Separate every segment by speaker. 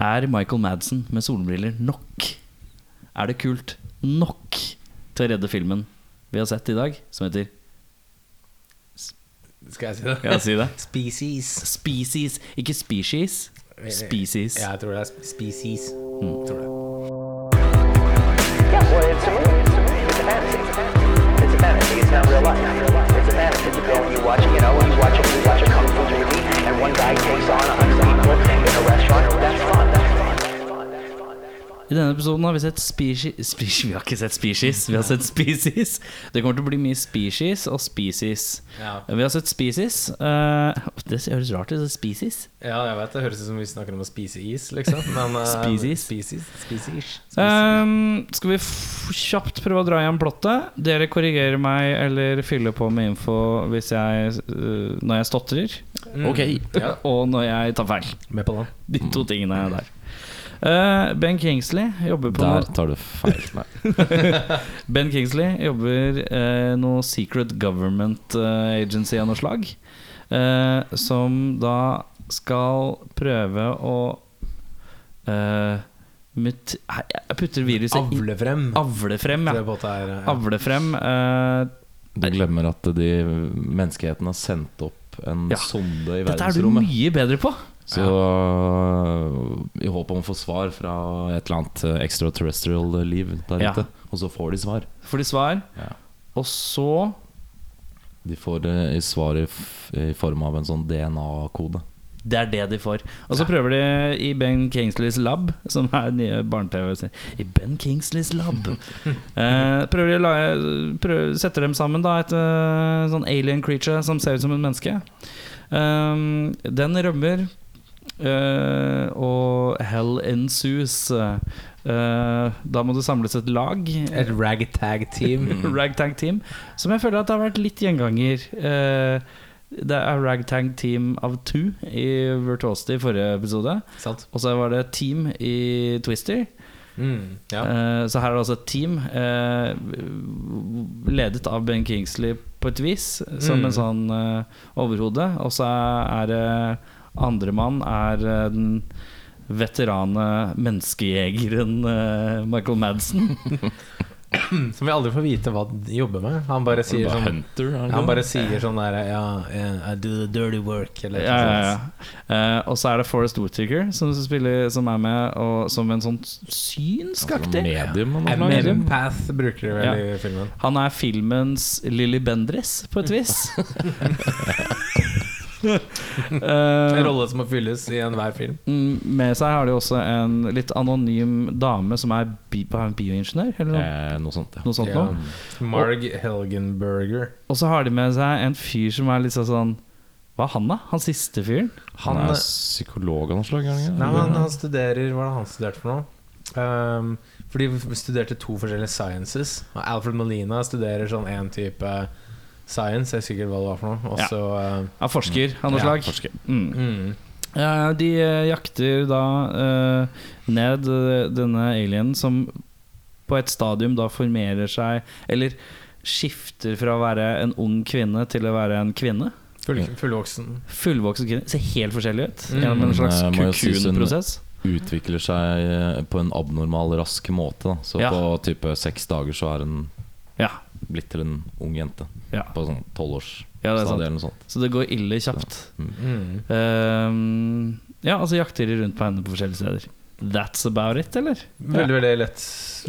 Speaker 1: Er Michael Madsen med solbriller nok? Er det kult nok til å redde filmen vi har sett i dag, som heter
Speaker 2: Skal jeg si det?
Speaker 1: Skal jeg si det?
Speaker 2: Species.
Speaker 1: Species, ikke species. Species.
Speaker 2: Ja, jeg tror det er sp- species.
Speaker 3: Hmm.
Speaker 2: Tror det.
Speaker 4: Yeah, well, it's a movie. It's a fantasy. It's a fantasy. It's not real life. It's a fantasy. You go and you watch, you know, you watch, you watch a kung fu movie, and one guy takes on a hundred people in a restaurant. That's fun. That's fun. That's fun. That's fun. That's fun.
Speaker 1: I denne episoden har vi sett species, species Vi har ikke sett species, vi har sett species. Det kommer til å bli mye species og species.
Speaker 2: Ja.
Speaker 1: Vi har sett species. eh, det høres rart ut, det er species.
Speaker 2: Ja, jeg vet det høres ut som vi snakker om å spise is, liksom. Men eh,
Speaker 1: Species.
Speaker 2: Species. Species.
Speaker 3: Ehm, skal vi f kjapt prøve å dra igjen plottet? Dere korrigerer meg eller fyller på med info hvis jeg, øh, når jeg stotrer,
Speaker 5: Ok.
Speaker 2: Hmm. Ja, Mm.
Speaker 3: og når jeg tar feil.
Speaker 2: med på den.
Speaker 3: De to tingene er der. Eh, ben Kingsley jobber på
Speaker 5: Der
Speaker 3: noe,
Speaker 5: tar du feil. Nei.
Speaker 3: Ben Kingsley jobber eh, noe secret government eh, agency av noe slag. eh, som da skal prøve å eh, mut Nei, Jeg putter viruset i
Speaker 2: Avle frem.
Speaker 3: Avle frem, ja.
Speaker 2: Det båtet er eh,
Speaker 3: avle frem eh,
Speaker 5: Du glemmer at de menneskeheten har sendt opp en
Speaker 3: Ja.
Speaker 5: sonde i
Speaker 3: Dette er du
Speaker 5: verdensrommet.
Speaker 3: mye bedre på
Speaker 5: Så øh, i håp om å få svar fra et eller annet øh, extraterrestrial liv der
Speaker 3: Ja.
Speaker 5: ute. Og så får de svar.
Speaker 3: Får de svar
Speaker 5: Ja.
Speaker 3: Og så
Speaker 5: De får øh, svar i, f i form av en sånn DNA-kode.
Speaker 3: Det er det de får Og så prøver de i Ben Kingsleys lab Som er den nye barne-tv I Ben Kingsleys lab eh, Prøver de å la- prøv- Setter dem sammen da Et eh, sånn alien creature Som ser ut som en menneske Um, Den rømmer eh, Og hell ensues Eh, Da må det samles et lag
Speaker 2: Et ragtag team.
Speaker 3: Ragtang Team, som jeg føler at det har vært litt gjenganger. Eh, det er Ragtang Team of Two i Virtuosity i forrige episode.
Speaker 2: Sant?
Speaker 3: Og så var det et Team i Twister.
Speaker 2: Mm, ja.
Speaker 3: Eh, så her er det altså et team eh, ledet av Ben Kingsley på et vis, som
Speaker 2: Mm.
Speaker 3: en sånn eh, overhode. Og så er det andremann er eh, den veterane menneskejegeren eh, Michael Madsen.
Speaker 2: Som vi aldri får vite hva de jobber med. Han bare sier
Speaker 5: Bare
Speaker 2: sånn
Speaker 5: Hunter, er det
Speaker 2: han
Speaker 5: ikke
Speaker 2: bare
Speaker 3: Eh.
Speaker 5: det?
Speaker 2: sier sånn der Ja, yeah, I do the dirty work, eller
Speaker 3: Ja, ja, ja.
Speaker 2: sånt.
Speaker 3: Eh, og så er det Forest Whittaker som, spiller, som er med og, som en sånn synsk
Speaker 5: Sånn
Speaker 3: aktig.
Speaker 5: medium av noe
Speaker 2: Eh,
Speaker 5: slag.
Speaker 2: Medium Path bruker de vel
Speaker 3: Ja.
Speaker 2: i filmen.
Speaker 3: Han er filmens Lilly Bendriss, på et vis.
Speaker 2: En
Speaker 3: Eh,
Speaker 2: rolle som må fylles i enhver film.
Speaker 3: mm, med seg har de også en litt anonym dame som er bi hva er hun, bioingeniør, eller noe,
Speaker 5: Eh, noe sånt, ja.
Speaker 3: noe sånt.
Speaker 2: Ja.
Speaker 3: noe.
Speaker 2: Marg Helgenberger.
Speaker 3: Og så har de med seg en fyr som er litt sånn sånn Hva er han, da? Han siste fyren?
Speaker 5: Han
Speaker 2: Han-
Speaker 3: eh,
Speaker 5: er psykolog av noe slag? er han ikke det?
Speaker 2: Nei, men han studerer Hva er det han studerte for noe? Um, for de studerte to forskjellige sciences. Og Alfred Molina studerer sånn én type science, jeg husker ikke hva det var for noe. Og
Speaker 3: Ja.
Speaker 2: så uh,
Speaker 3: Ja, forsker av noe
Speaker 2: Ja,
Speaker 3: slag.
Speaker 5: forsker.
Speaker 3: Mm.
Speaker 2: mm,
Speaker 3: Ja, de eh, jakter da eh, ned eh, denne alienen som på et stadium da formerer seg Eller skifter fra å være en ung kvinne til å være en kvinne.
Speaker 2: full, fullvoksen.
Speaker 3: Fullvoksen kvinne. Ser helt forskjellig ut.
Speaker 2: Mm.
Speaker 3: Gjennom en slags
Speaker 5: Men, eh, må jo sies hun-
Speaker 3: kukunprosess.
Speaker 5: Utvikler seg eh, på en abnormal rask måte. Da. Så
Speaker 3: Ja.
Speaker 5: på type seks dager så er hun
Speaker 3: Ja.
Speaker 5: blitt til en ung jente.
Speaker 3: Ja.
Speaker 5: På sånn tolvårsstadiet
Speaker 3: Ja, det er sant.
Speaker 5: eller noe sånt.
Speaker 3: Så det går ille kjapt.
Speaker 2: Mm.
Speaker 3: Ehm, ja, og så jakter de rundt på henne på forskjellige steder. That's about it, eller?
Speaker 2: Veldig, veldig lett,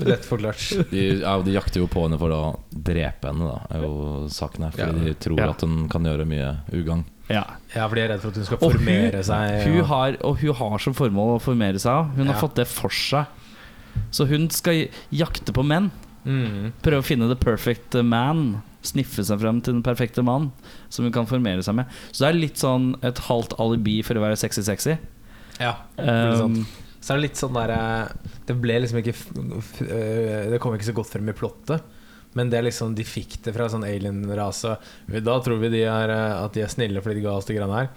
Speaker 2: lett forklart.
Speaker 5: De, ja, de jakter jo på henne for å drepe henne, da, er jo saken her. Fordi
Speaker 2: Ja.
Speaker 5: de tror
Speaker 3: Ja.
Speaker 5: at hun kan gjøre mye ugagn.
Speaker 3: Ja.
Speaker 2: Ja, for de er redd for at hun skal
Speaker 3: Og hun-
Speaker 2: formere seg.
Speaker 3: Hun
Speaker 2: og-
Speaker 3: har, og hun har som formål å formere seg. av. Hun har
Speaker 2: Ja.
Speaker 3: fått det for seg. Så hun skal jakte på menn.
Speaker 2: mm.
Speaker 3: Prøve å finne the perfect man. Sniffe seg frem til den perfekte mann som hun kan formere seg med. Så det er litt sånn et halvt alibi for å være sexy-sexy. Um,
Speaker 2: Ja, veldig sant. Så er det litt sånn der eh, Det ble liksom ikke f- f- eh, Det kom ikke så godt frem i plottet. Men det er liksom de fikk det fra sånn alien-rase. Da tror vi de er, eh, at de er snille fordi de ga oss det greiene her.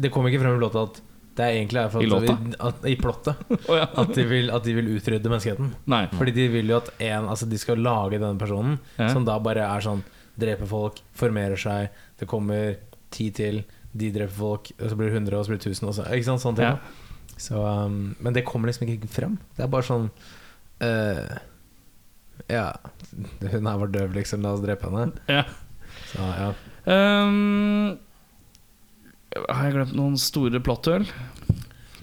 Speaker 2: Det kom ikke frem i plottet at det er egentlig er for at
Speaker 3: I låta?
Speaker 2: vi- At, I plottet.
Speaker 3: Å ja.
Speaker 2: At de, vil, at de vil utrydde menneskeheten.
Speaker 3: Nei.
Speaker 2: Fordi de vil jo at en, altså de skal lage denne personen,
Speaker 3: Ja.
Speaker 2: som da bare er sånn Dreper folk, formerer seg, det kommer ti til, de dreper folk, og så blir det 100, og så blir det 1000, og så Ikke sant? Sånne ting.
Speaker 3: Ja.
Speaker 2: da. Så, um, men det kommer liksom ikke fram. Det er bare sånn eh, Ja, hun her var døv, liksom. La oss drepe henne.
Speaker 3: Ja.
Speaker 2: Så ja.
Speaker 3: Ehm, har jeg glemt noen store plotthull?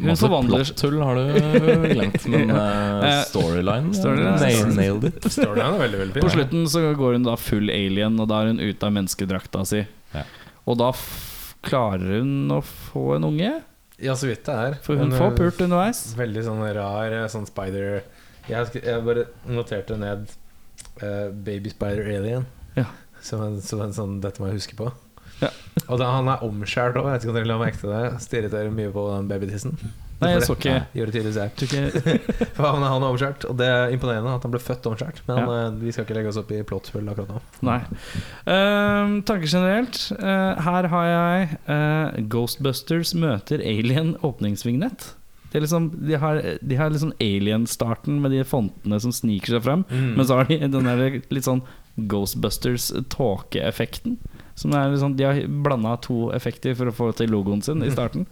Speaker 3: Hun
Speaker 5: Masse
Speaker 3: forvandler
Speaker 5: Plottull har du glemt, men
Speaker 3: Eh,
Speaker 5: eh, storyline
Speaker 3: storyline.
Speaker 5: nailed, nailed it.
Speaker 2: Storyen er veldig, veldig fin.
Speaker 3: På slutten så går hun da full alien, og da er hun ute av menneskedrakta si.
Speaker 5: Ja.
Speaker 3: Og da f klarer hun å få en unge,
Speaker 2: Ja, så vidt det er.
Speaker 3: for hun
Speaker 2: Men,
Speaker 3: får
Speaker 2: eh,
Speaker 3: pult underveis.
Speaker 2: Veldig sånn rar eh, sånn spider Jeg, sk- jeg bare noterte ned eh, Baby Spider Alien.
Speaker 3: Ja.
Speaker 2: Som, en, som en sånn Dette må jeg huske på.
Speaker 3: Ja.
Speaker 2: Og da han er omskjært òg. Jeg vet ikke om dere la merke til det. Stirret dere mye på den babytissen?
Speaker 3: Nei, jeg så ikke.
Speaker 2: Nei, Gjorde tydeligvis jeg.
Speaker 3: Tror ikke
Speaker 2: For han, han er omskjært, og det er imponerende at han ble født omskjært. Men eh, vi skal ikke legge oss opp i plotthull akkurat nå.
Speaker 3: Nei. Ehm, tanker generelt. Eh, her har jeg eh, Ghostbusters møter Alien åpningsvignett. Det er liksom, de har, de har liksom Alien-starten med de fontene som sniker seg frem. Men så har de den der litt sånn Ghostbusters-tåkeeffekten. Som er liksom, de har blanda to effekter for å få til logoen sin i starten.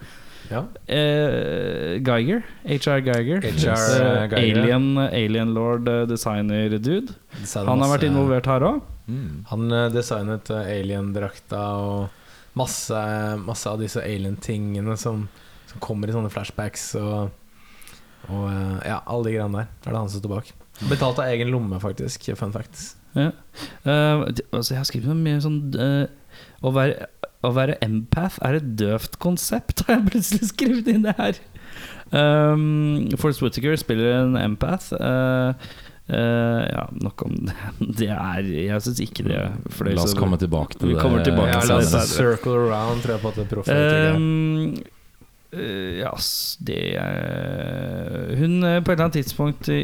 Speaker 2: Ja.
Speaker 3: Eh, Geiger. HR Geiger.
Speaker 2: HR
Speaker 3: Eh,
Speaker 2: Geiger.
Speaker 3: Alien, alien lord eh, designer dude.
Speaker 2: Designer
Speaker 3: Han har
Speaker 2: masse-
Speaker 3: vært involvert her òg.
Speaker 5: Mm.
Speaker 2: Han eh, designet eh, alien-drakta og masse, masse av disse alien-tingene som, som kommer i sånne flashbacks og, og eh, ja, alle de greiene der. Det er det han som står bak. Betalt av egen lomme, faktisk. Fun fact.
Speaker 3: Eh, det- altså jeg har skrevet noe mye sånn eh, å, være, å være empath er et døvt konsept, har jeg plutselig skrevet inn det her. Um, Forrest Whittaker spiller en empath. eh, eh, ja, nok om det. Det er Jeg syns ikke det fløy
Speaker 5: La oss
Speaker 3: så-
Speaker 5: komme tilbake til
Speaker 3: Vi
Speaker 5: det.
Speaker 3: kommer tilbake
Speaker 2: Ja,
Speaker 3: til
Speaker 2: la oss
Speaker 3: det.
Speaker 2: circle around, tror jeg på at det er proff.
Speaker 3: Ehm, eh, ja, ass, det er Hun eh, på et eller annet tidspunkt i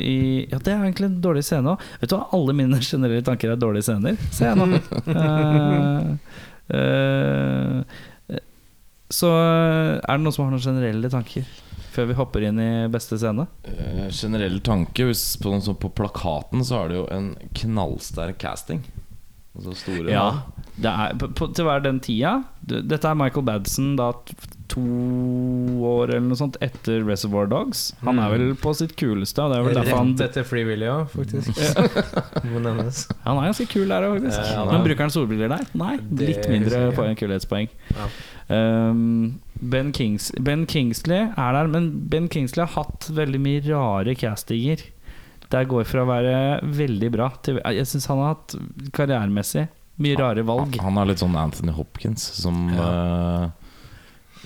Speaker 3: Ja, det er egentlig en dårlig scene òg. Vet du hva, alle mine generelle tanker er dårlige scener, ser jeg nå. Eh, eh, eh, så eh, er det noen som har noen generelle tanker? Før vi hopper inn i beste scene?
Speaker 5: Eh, generell tanke hvis på, sånn på plakaten så har det jo en knallsterk casting. Altså store
Speaker 3: Det er, på, på, til hver den tida d- Dette er Michael Badson da t- to år eller noe sånt etter Reservoir Dogs. Han er vel på sitt kuleste, og det er vel derfor han
Speaker 2: Mm. Rett etter Eh, Free Willy òg, faktisk. Må nevnes.
Speaker 3: Han er ganske kul der òg, faktisk.
Speaker 2: Ja, Eh, han er.
Speaker 3: Men bruker han solbriller der? Nei,
Speaker 2: Det
Speaker 3: litt mindre
Speaker 2: husker jeg.
Speaker 3: på en kulhetspoeng.
Speaker 2: Ja.
Speaker 3: Um, ben, Kings ben Kingsley er der, men Ben Kingsley har hatt veldig mye rare castinger. Der går fra å være veldig bra til Jeg syns han har hatt karrieremessig mye rare valg.
Speaker 5: Han er litt sånn Anthony Hopkins som eh,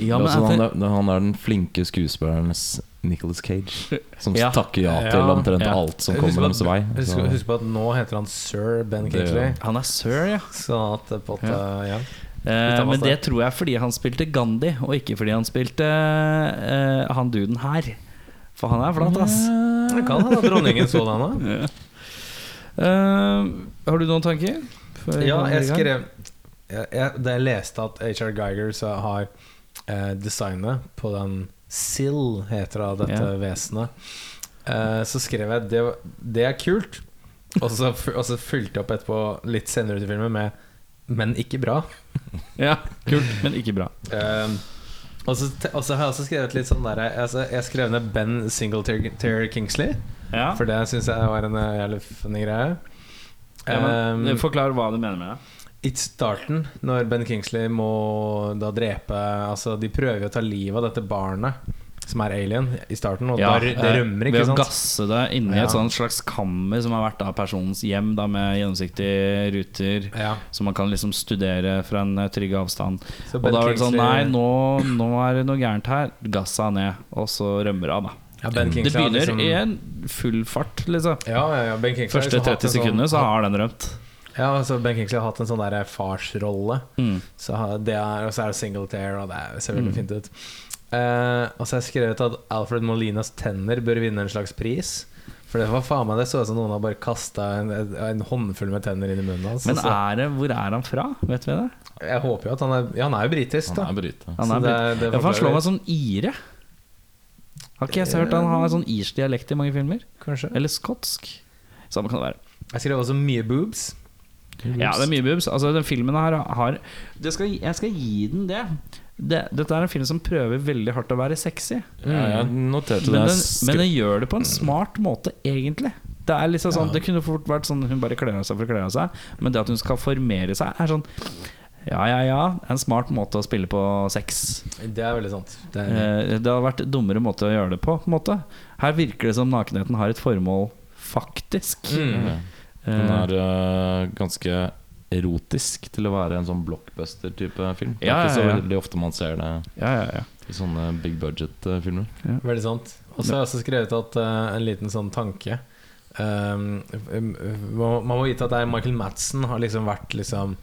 Speaker 3: Ja,
Speaker 5: det er
Speaker 3: men
Speaker 5: sånn,
Speaker 3: Anthony-
Speaker 5: han, er, han er den flinke skuespillerens Nicholas Cage. Som
Speaker 3: Ja.
Speaker 5: takker ja til
Speaker 2: Ja.
Speaker 5: omtrent
Speaker 3: Ja.
Speaker 5: alt som kommer
Speaker 2: Husk
Speaker 5: hennes
Speaker 2: på
Speaker 5: vei.
Speaker 2: at- Husk,
Speaker 5: Så-
Speaker 2: husk på at nå heter han sir Ben
Speaker 5: Det gjør
Speaker 2: Kingsley.
Speaker 5: han.
Speaker 3: Han er sir, ja.
Speaker 2: Sånn at det på at, ja.
Speaker 3: Eh,
Speaker 2: tar
Speaker 3: men
Speaker 2: masse.
Speaker 3: det tror jeg er fordi han spilte Gandhi, og ikke fordi han spilte eh, han duden her. For han er flat, ass.
Speaker 2: Det kan hende at dronningen så den òg.
Speaker 3: Eh, har du noen tanker? Før vi
Speaker 2: Ja,
Speaker 3: kommer i
Speaker 2: jeg
Speaker 3: gang?
Speaker 2: skrev jeg, jeg, Da jeg leste at H.R. Geiger så har eh, designet på den Sill heter da dette
Speaker 3: Ja.
Speaker 2: vesenet, eh, så skrev jeg det, var- det er kult. Og så, fu- og så fylte jeg opp etterpå litt senere ut i filmen med 'men ikke bra'.
Speaker 3: Ja, kult, men ikke bra.
Speaker 2: Eh, og, så, te- og så har jeg også skrevet litt sånn der altså, Jeg skrev ned Ben Singletary Kingsley,
Speaker 3: Ja,
Speaker 2: for det syns jeg var en eh, jævlig funny greie.
Speaker 3: men,
Speaker 2: Eh,
Speaker 3: Forklar hva du mener med det.
Speaker 2: I starten, når Ben Kingsley må da drepe Altså, de prøver jo å ta livet av dette barnet som er alien, i starten, og da, det
Speaker 3: eh,
Speaker 2: rømmer, ikke
Speaker 3: Ved å
Speaker 2: sant?
Speaker 3: gasse det inni
Speaker 2: Ja.
Speaker 3: et sånt slags kammer som har vært da personens hjem, da med gjennomsiktige ruter.
Speaker 2: Ja,
Speaker 3: Som man kan liksom studere fra en eh, trygg avstand.
Speaker 2: så
Speaker 3: Og
Speaker 2: Ben
Speaker 3: da er det sånn
Speaker 2: Kingsley-
Speaker 3: Nei,
Speaker 2: eh,
Speaker 3: nå, nå er det noe gærent her. Gassa ned, og så rømmer han, da.
Speaker 2: ja, ben
Speaker 3: Det
Speaker 2: Kingsley har
Speaker 3: begynner
Speaker 2: liksom,
Speaker 3: i en full fart, liksom.
Speaker 2: ja, ja, ja, ben Kingsley har
Speaker 3: Første
Speaker 2: liksom hatt
Speaker 3: 30
Speaker 2: en sånn-
Speaker 3: sekundene så har den rømt.
Speaker 2: Ja, altså Ben Kingsley har hatt en sånn der farsrolle. Så har- det er, og så er det singletair, og det ser
Speaker 3: Mm.
Speaker 2: veldig fint ut. Eh, og så har jeg skrevet at Alfred Molinas tenner bør vinne en slags pris. For det var faen meg det så ut som noen har bare kasta en, en håndfull med tenner inn i munnen hans.
Speaker 3: Men
Speaker 2: altså.
Speaker 3: er det, hvor er han fra? Vet vi det?
Speaker 2: Jeg håper jo at han er Ja, han er jo britisk,
Speaker 5: Han
Speaker 2: da.
Speaker 5: er bryter.
Speaker 3: Han
Speaker 2: Så
Speaker 3: er blitt,
Speaker 2: det- det
Speaker 3: ja, for han slår
Speaker 2: forklarer
Speaker 3: meg som ire. Har ikke jeg så hørt han har sånn irsk dialekt i mange filmer?
Speaker 2: Kanskje.
Speaker 3: Eller skotsk. Samme kan det være.
Speaker 2: Jeg skrev også mye boobs.
Speaker 3: Ja, det er mye boobs. Altså, den filmen her har det skal, Jeg skal gi den det. det, Dette er en film som prøver veldig hardt å være sexy.
Speaker 5: Ja, jeg noterte
Speaker 3: Men
Speaker 5: det.
Speaker 3: den, men den gjør det på en smart måte, egentlig. Det er liksom sånn Det kunne fort vært sånn hun bare kler av seg for å kle av seg, men det at hun skal formere seg, er sånn ja, ja, ja. En smart måte å spille på sex.
Speaker 2: Det er veldig sant. Det er,
Speaker 3: Eh, Det hadde vært dummere måte å gjøre det på. på en måte Her virker det som nakenheten har et formål, faktisk.
Speaker 2: mm.
Speaker 5: Ja.
Speaker 3: Eh,
Speaker 5: Den er øh, ganske erotisk til å være en sånn blockbuster-type film. Det
Speaker 3: Ja,
Speaker 5: er ikke så
Speaker 3: ja, ja.
Speaker 5: veldig ofte man ser det
Speaker 3: Ja, ja, ja.
Speaker 5: i sånne big eh, budget-filmer.
Speaker 2: Veldig sant. Og så har jeg også skrevet at eh, en liten sånn tanke um, um, må- Man må vite at det er Michael Madsen har liksom vært liksom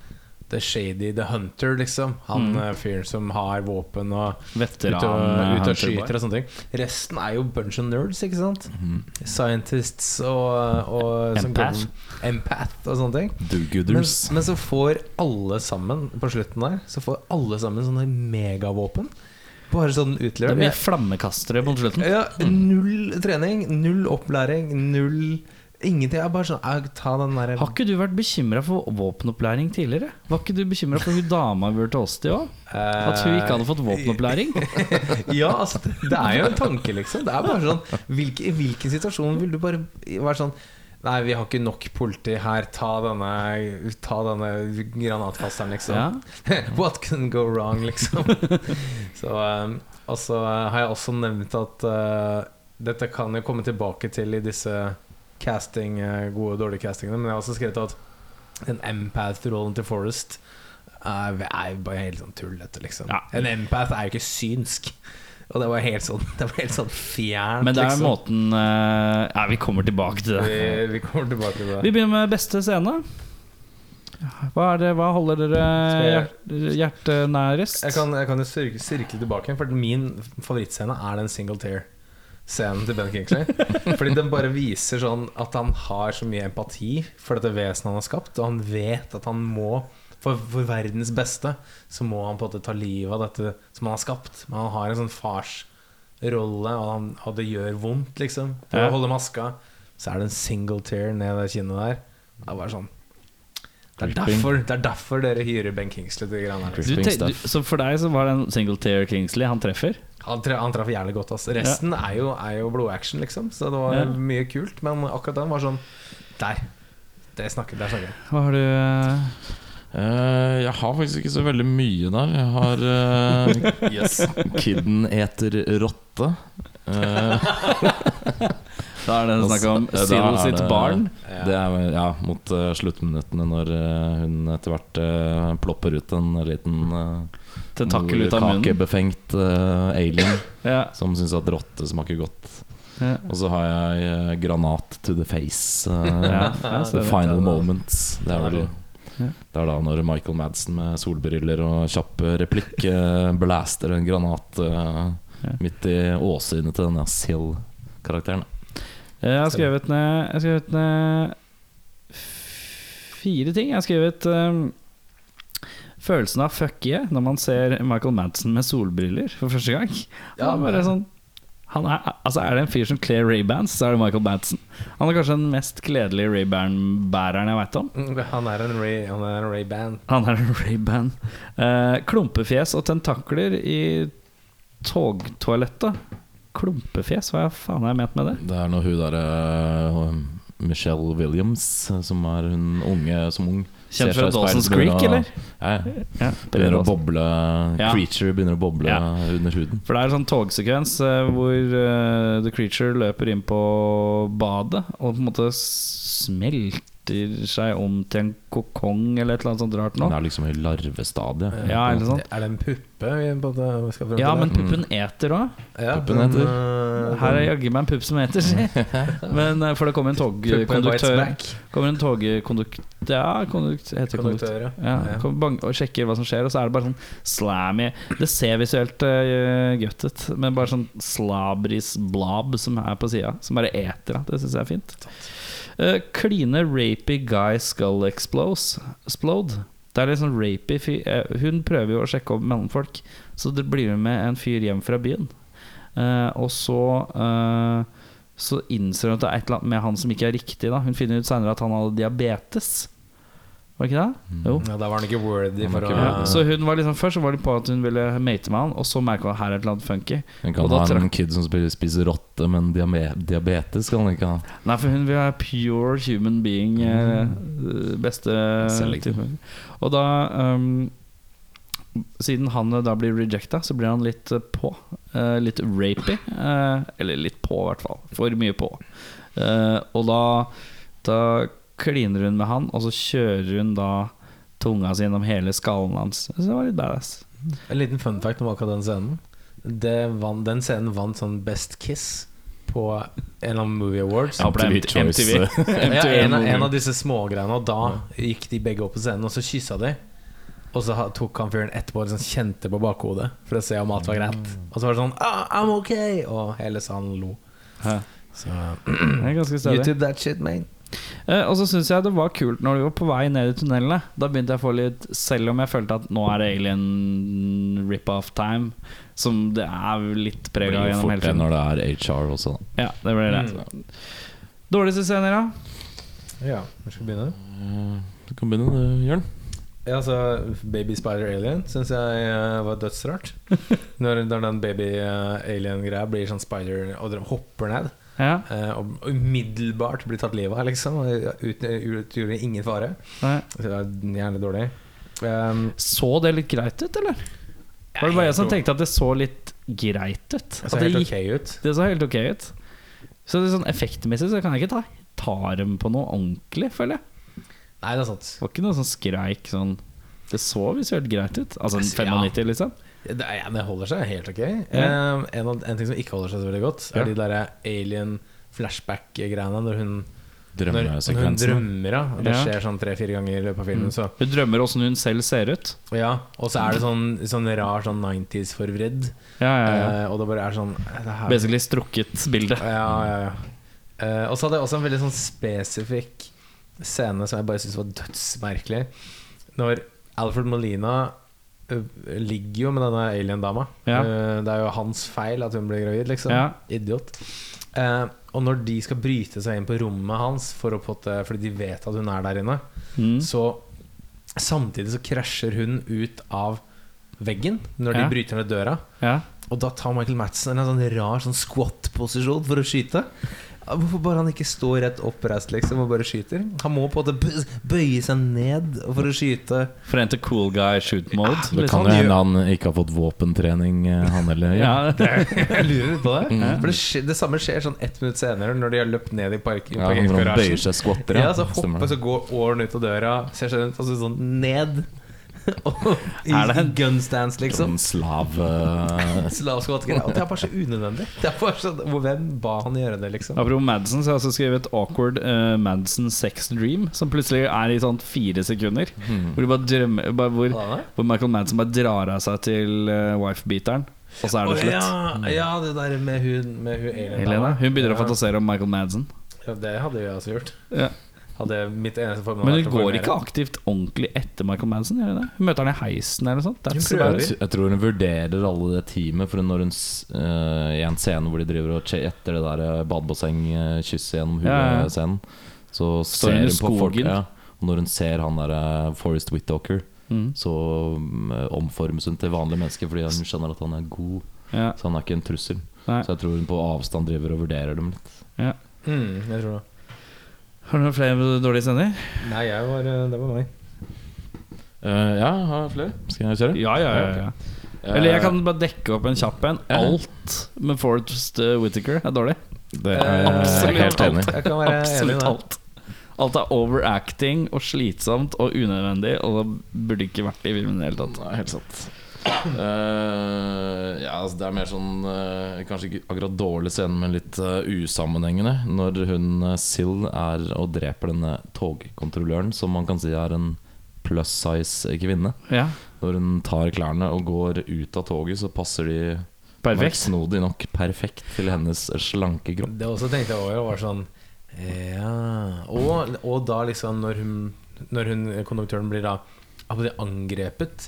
Speaker 2: The Shady, The Hunter, liksom. Han mm. fyren som har våpen og ut
Speaker 3: Veteran. eh,
Speaker 2: og, ut
Speaker 3: Hunter
Speaker 2: og
Speaker 3: Boy. Mm-hmm.
Speaker 2: skyter og sånne ting. Resten er jo bunch of nerds, ikke sant? Scientists og, og som
Speaker 3: Empath.
Speaker 2: går- Empath og sånne ting. Men,
Speaker 5: Dogooders.
Speaker 2: men så får alle sammen på slutten der Så får alle sammen sånne megavåpen. Bare sånn
Speaker 3: Det
Speaker 2: utlevert.
Speaker 3: blir flammekastere mot slutten.
Speaker 2: Ja, null trening, null opplæring, null Ingenting. Jeg er bare sånn jeg, Ta den derre
Speaker 3: Har ikke du vært bekymra for våpenopplæring tidligere? Var ikke du bekymra for hun dama vi var til oss til òg? At hun ikke hadde fått våpenopplæring?
Speaker 2: eh, Ja, altså, det, det er jo en tanke, liksom. Det er bare sånn hvilke, I hvilken situasjon vil du bare være sånn Nei, vi har ikke nok politi her. Ta denne, ta denne granatkasteren, liksom.
Speaker 3: Ja.
Speaker 2: What can go wrong, liksom? så, um, og så har jeg også nevnt at uh, dette kan jeg komme tilbake til i disse casting, uh, gode og dårlige castingene, men jeg har også skrevet at den empath-rollen til Forrest er, er jo bare helt sånn tullete, liksom.
Speaker 3: Ja.
Speaker 2: En empath er jo ikke synsk. Og det var helt sånn, det var helt sånn fjernt.
Speaker 3: Men det er
Speaker 2: liksom.
Speaker 3: måten eh, Ja, vi kommer tilbake til det.
Speaker 2: vi, vi kommer tilbake til
Speaker 3: Vi
Speaker 2: det.
Speaker 3: begynner med beste scene. Hva, er det, hva holder dere hjer- hjertet nærest?
Speaker 2: Jeg kan, jeg kan jo sirk- sirkle tilbake, for min favorittscene er den single tear. Scenen til Ben Kingsley. Fordi den bare viser sånn at han har så mye empati for dette vesenet han har skapt, og han vet at han må for, for verdens beste så må han på en måte ta livet av dette som han har skapt. Men han har en sånn farsrolle, og, han- og det gjør vondt, liksom. For
Speaker 3: Ja.
Speaker 2: å holde maska, så er det en single tear ned det kinnet der. Det er bare sånn Det er
Speaker 5: Creeping.
Speaker 2: derfor, det er derfor dere hyrer Ben Kingsley til de greiene her.
Speaker 3: du, te, du, så for deg så var det en single tear Kingsley han treffer?
Speaker 2: Han, tre, han traff jævlig godt. Ass. Resten er jo, er jo blodaction, liksom. Så det var
Speaker 3: Ja.
Speaker 2: mye kult. Men akkurat den var sånn Der! Det snakker, der snakker jeg.
Speaker 3: Hva har du eh,
Speaker 5: Eh, jeg har faktisk ikke så veldig mye der. Jeg har eh, yes. Kidden eter rotte. Eh,
Speaker 3: Da er det snakk om
Speaker 5: da
Speaker 3: Sill
Speaker 5: er
Speaker 3: sitt
Speaker 5: det-
Speaker 3: barn.
Speaker 5: Det er vel- ja, mot eh, sluttminuttene, når eh, hun etter hvert eh, plopper ut en liten uh,
Speaker 3: Tentakkel ut av munnen.
Speaker 5: kakebefengt eh, alien
Speaker 3: Ja,
Speaker 5: som syns at rotte smaker godt.
Speaker 3: ja.
Speaker 5: Og så har jeg eh, granat to the face. eh,
Speaker 3: Ja, ja,
Speaker 5: The
Speaker 3: stemmer.
Speaker 5: final moments. Det er, vel,
Speaker 3: Ja.
Speaker 5: det er da når Michael Madsen med solbriller og kjapp replikk eh, blaster en granat eh,
Speaker 3: Ja.
Speaker 5: midt i åsynet til denne Sill-karakteren.
Speaker 3: Jeg har skrevet ned, jeg har skrevet ned fire ting. Jeg har skrevet ehm, følelsen av fuck yeah når man ser Michael Madsen med solbriller for første gang.
Speaker 2: Ja,
Speaker 3: Han er bare
Speaker 2: men-
Speaker 3: sånn han er, altså er det en fyr som kler Ray-Bans, så er det Michael Madsen. Han er kanskje den mest kledelige Ray-Ban-bæreren jeg veit om.
Speaker 2: Mm, Han er en Ray, han er en Ray Band.
Speaker 3: Han er en Ray-Ban. Eh, klumpefjes og tentakler i togtoalettet. Klumpefjes, hva faen har jeg ment med det?
Speaker 5: Det er når hun derre Michelle Williams, eh, som er hun unge som ung ser
Speaker 3: Kjent fra
Speaker 5: seg i speilet,
Speaker 3: Dawson's
Speaker 5: begynner
Speaker 3: Creek,
Speaker 5: å-
Speaker 3: eller?
Speaker 5: Ja, ja.
Speaker 3: Ja,
Speaker 5: Begynner å boble
Speaker 3: Ja.
Speaker 5: Creature begynner å boble
Speaker 3: Ja.
Speaker 5: under huden.
Speaker 3: For det er en sånn togsekvens eh, hvor eh, The Creature løper inn på badet og på en måte smelter seg om til en kokong eller et eller annet sånt rart nå.
Speaker 5: Hun er liksom i larvestadiet.
Speaker 3: Ja, eller sånn.
Speaker 2: Er det en puppe vi på en måte skal frem til?
Speaker 3: Ja,
Speaker 2: der?
Speaker 3: men puppen eter òg.
Speaker 2: ja,
Speaker 5: puppen
Speaker 2: den,
Speaker 5: heter-
Speaker 2: øh,
Speaker 3: Her er jaggu meg en pupp som eter, si. Men eh, for det kommer en
Speaker 2: Puppen bites
Speaker 3: togkonduktør
Speaker 2: back.
Speaker 3: Kommer en togkonduktør Ja, kondukt, heter konduktør.
Speaker 2: Konduktør, ja.
Speaker 3: Ja,
Speaker 2: Ja.
Speaker 3: kommer bang, og sjekker hva som skjer, og så er det bare sånn slammy Det ser visuelt uh, godt ut, men bare sånn slabris blob som er på sida, som bare eter deg. Det syns jeg er fint. Eh, Kline rapy guy skull explos- explode. Det er litt sånn rapy fyr eh, Hun prøver jo å sjekke opp mellomfolk, så det blir hun med en fyr hjem fra byen. Eh, og så eh, så innser hun at det er et eller annet med han som ikke er riktig. Da. Hun finner ut senere at han hadde diabetes. Var det ikke det? Jo.
Speaker 2: Ja, da var han ikke worthy
Speaker 5: Han var
Speaker 2: for å
Speaker 5: ikke
Speaker 3: Ja, så hun var liksom Først så var det på at hun ville mate med han, og så merka hun her er et eller annet funky.
Speaker 5: Hun kan
Speaker 3: Og da
Speaker 5: ha en kid som spiller- spiser rotte, men diame- diabetes kan han ikke ha.
Speaker 3: Nei, for hun vil være pure human being. eh, Beste
Speaker 5: Selv ikke.
Speaker 3: type. Og da ehm, Siden han eh, da blir rejecta, så blir han litt eh, på. Eh, litt rapy. eh, eller litt på, i hvert fall. For mye på. Eh, og da, da kliner hun med han, og så kjører hun da tunga si gjennom hele skallen hans. Så det var litt badass.
Speaker 2: En liten fun fact om akkurat den scenen. Det vann, den scenen vant sånn Best Kiss på en eller annen Movie Awards.
Speaker 3: Ja, på det er
Speaker 5: MTV
Speaker 3: MTV.
Speaker 5: Choice.
Speaker 2: Ja, en, av- en av disse smågreiene. Og da gikk de begge opp på scenen, og så kyssa de. Og så ha- tok han fyren etterpå og liksom kjente på bakhodet for å se om alt var greit. Og så var det sånn ah, I'm ok! Og hele salen lo.
Speaker 3: Hæ.
Speaker 2: Så
Speaker 3: Det er ganske stødig.
Speaker 2: YouTube that shit, man.
Speaker 3: Eh, og så syns jeg det var kult når vi var på vei ned i tunnelene. Da begynte jeg å få litt Selv om jeg følte at nå er det alien rip-off-time, som det er litt
Speaker 5: Det
Speaker 3: preg av
Speaker 5: blir jo
Speaker 3: gjennom
Speaker 5: fort
Speaker 3: hele
Speaker 5: det
Speaker 3: filmen.
Speaker 5: når det er HR også. da.
Speaker 3: Ja, det ble det. Dårligste scener, da?
Speaker 2: Ja, hvor skal vi begynne?
Speaker 5: Du kan begynne, du, Jørn.
Speaker 2: Ja, altså Baby Spider Alien syns jeg eh, var dødsrart. Når, når den baby eh, alien-greia blir sånn spider og dere hopper ned.
Speaker 3: Ja,
Speaker 2: eh, Og umiddelbart blir tatt livet av, liksom. og Uten, utgjorde ingen fare.
Speaker 3: nei.
Speaker 2: Så det er Gjerne dårlig. Um,
Speaker 3: Så det litt greit ut, eller? Var det bare jeg som tenkte at det så litt greit ut?
Speaker 2: Det
Speaker 3: At
Speaker 2: ser
Speaker 3: det,
Speaker 2: helt
Speaker 3: gikk,
Speaker 2: ok ut.
Speaker 3: det så helt ok ut. Så det er sånn effektmessig så kan jeg ikke ta, ta dem på noe ordentlig, føler jeg.
Speaker 2: Nei, det er sant.
Speaker 3: Det var ikke noe sånn skreik sånn Det så visuelt greit ut. Altså
Speaker 2: Altså, ja.
Speaker 3: 95, liksom.
Speaker 2: Det, er, ja, det holder seg helt ok.
Speaker 3: Ja.
Speaker 2: Um, en, av, en ting som ikke holder seg så veldig godt, er
Speaker 5: Ja.
Speaker 2: de derre alien-flashback-greiene når hun Når hun
Speaker 5: Drømmesekvensen.
Speaker 2: drømmer, da. og Det
Speaker 3: Ja.
Speaker 2: skjer sånn tre-fire ganger i løpet av filmen. Så
Speaker 3: Hun Mm. drømmer åssen hun selv ser ut.
Speaker 2: Ja, og så er det sånn, sånn rar sånn 90s-forvridd.
Speaker 3: Ja, ja, ja.
Speaker 2: Eh, og det bare er sånn eh, det her,
Speaker 3: Basically strukket bilde.
Speaker 2: Ja, ja, ja. Eh, og så hadde jeg også en veldig sånn spesifikk scene som jeg bare syntes var dødsmerkelig. Når Alfred Molina eh, ligger jo med denne alien-dama.
Speaker 3: Ja.
Speaker 2: Eh, det er jo hans feil at hun ble gravid, liksom.
Speaker 3: Ja.
Speaker 2: Idiot. Eh, og når de skal bryte seg inn på rommet hans for å potte, fordi de vet at hun er der inne,
Speaker 3: Mm.
Speaker 2: så samtidig så krasjer hun ut av veggen når de
Speaker 3: Ja.
Speaker 2: bryter ned døra.
Speaker 3: Ja.
Speaker 2: Og da tar Michael Madsen en sånn rar sånn squat-posisjon for å skyte. Ja, Hvorfor bare han ikke står rett oppreist liksom og bare skyter? Han må på en måte bø- bøye seg ned for å skyte.
Speaker 3: For å hente cool guy shoot mode.
Speaker 5: Det kan
Speaker 3: liksom.
Speaker 5: jo hende han ikke har fått våpentrening, eh, han heller.
Speaker 3: ja.
Speaker 2: Jeg lurer litt på det.
Speaker 5: Mm.
Speaker 2: For det, skje, det samme skjer sånn ett minutt senere, når de har løpt ned i park-
Speaker 5: Ja, han han bøyer
Speaker 2: parkeringsgarasjen.
Speaker 5: seg, skvatter.
Speaker 2: Ja, så
Speaker 5: Stemmer
Speaker 2: hopper,
Speaker 5: det.
Speaker 2: så går åren ut av døra, ser seg rundt, og så sånn ned. Og i
Speaker 3: Er det en-
Speaker 2: gunstance, liksom.
Speaker 5: Sånn slav eh,
Speaker 2: Slavskvatt-greier. Og det er bare så unødvendig. Det er bare sånn, Hvem ba han gjøre det, liksom?
Speaker 3: Apropos Madsen, så har jeg også skrevet 'Awkward eh, Madsen sex dream', som plutselig er i sånn fire sekunder.
Speaker 2: Hmm.
Speaker 3: Hvor, du bare drømmer, bare hvor,
Speaker 2: Hva da?
Speaker 3: hvor Michael Madsen bare drar av seg til eh, wife-beateren, og så er det
Speaker 2: Å,
Speaker 3: slutt.
Speaker 2: Ja, ja, det der med hun, med hun alien.
Speaker 3: Helena, hun begynner å
Speaker 2: Ja.
Speaker 3: fantasere om Michael Madsen.
Speaker 2: Ja, det hadde jo jeg også gjort.
Speaker 3: Ja.
Speaker 2: Hadde mitt eneste formål
Speaker 3: Men hun
Speaker 2: vært å
Speaker 3: går
Speaker 2: formere.
Speaker 3: ikke aktivt ordentlig etter Michael Madsen? Gjør hun det? Hun møter han i heisen eller noe sånt? That's
Speaker 2: Hun prøver.
Speaker 3: about it.
Speaker 5: Jeg tror hun vurderer alle det teamet, for når hun s- eh, i en scene hvor de driver og che- etter det der eh, badebasseng-kysset gjennom
Speaker 3: Ja, ja.
Speaker 5: huet-scenen, så
Speaker 3: Står
Speaker 5: ser
Speaker 3: hun i
Speaker 5: hun på folk
Speaker 3: skogen.
Speaker 5: ja, Og når hun ser han der eh, Forrest Whitaker,
Speaker 3: Mm.
Speaker 5: så mm, omformes hun til vanlige mennesker fordi hun skjønner at han er god,
Speaker 3: Ja.
Speaker 5: så han er ikke en trussel.
Speaker 3: Nei.
Speaker 5: Så jeg tror hun på avstand driver og vurderer dem litt.
Speaker 2: Mm, jeg tror det.
Speaker 3: Har du noen flere dårlige scener?
Speaker 2: Nei, jeg var, det var meg.
Speaker 5: Eh, ja, har jeg flere? Skal jeg kjøre?
Speaker 3: Ja, ja, ja, ja. Eller jeg kan bare dekke opp en kjapp en.
Speaker 5: Ja.
Speaker 3: Alt med Forrest eh, Whittaker er dårlig.
Speaker 5: Det er jeg
Speaker 3: Eh, Absolutt
Speaker 5: helt enig. i.
Speaker 2: Jeg kan være enig i
Speaker 3: Absolutt
Speaker 2: det.
Speaker 3: alt. Alt er overacting og slitsomt og unødvendig, og det burde ikke vært i filmen i det hele tatt.
Speaker 5: Nei, helt sant. Eh, ja, altså, det er mer sånn eh, Kanskje ikke akkurat dårlig scene, men litt eh, usammenhengende. Når hun uh, Sill er og dreper denne togkontrolløren, som man kan si er en plus size kvinne.
Speaker 3: Ja,
Speaker 5: Når hun tar klærne og går ut av toget, så passer de
Speaker 3: Perfekt.
Speaker 5: snodig nok perfekt til hennes slanke kropp.
Speaker 2: Det også tenkte jeg over. Var sånn, ja. og, og da liksom når hun, når hun konduktøren blir da av og til angrepet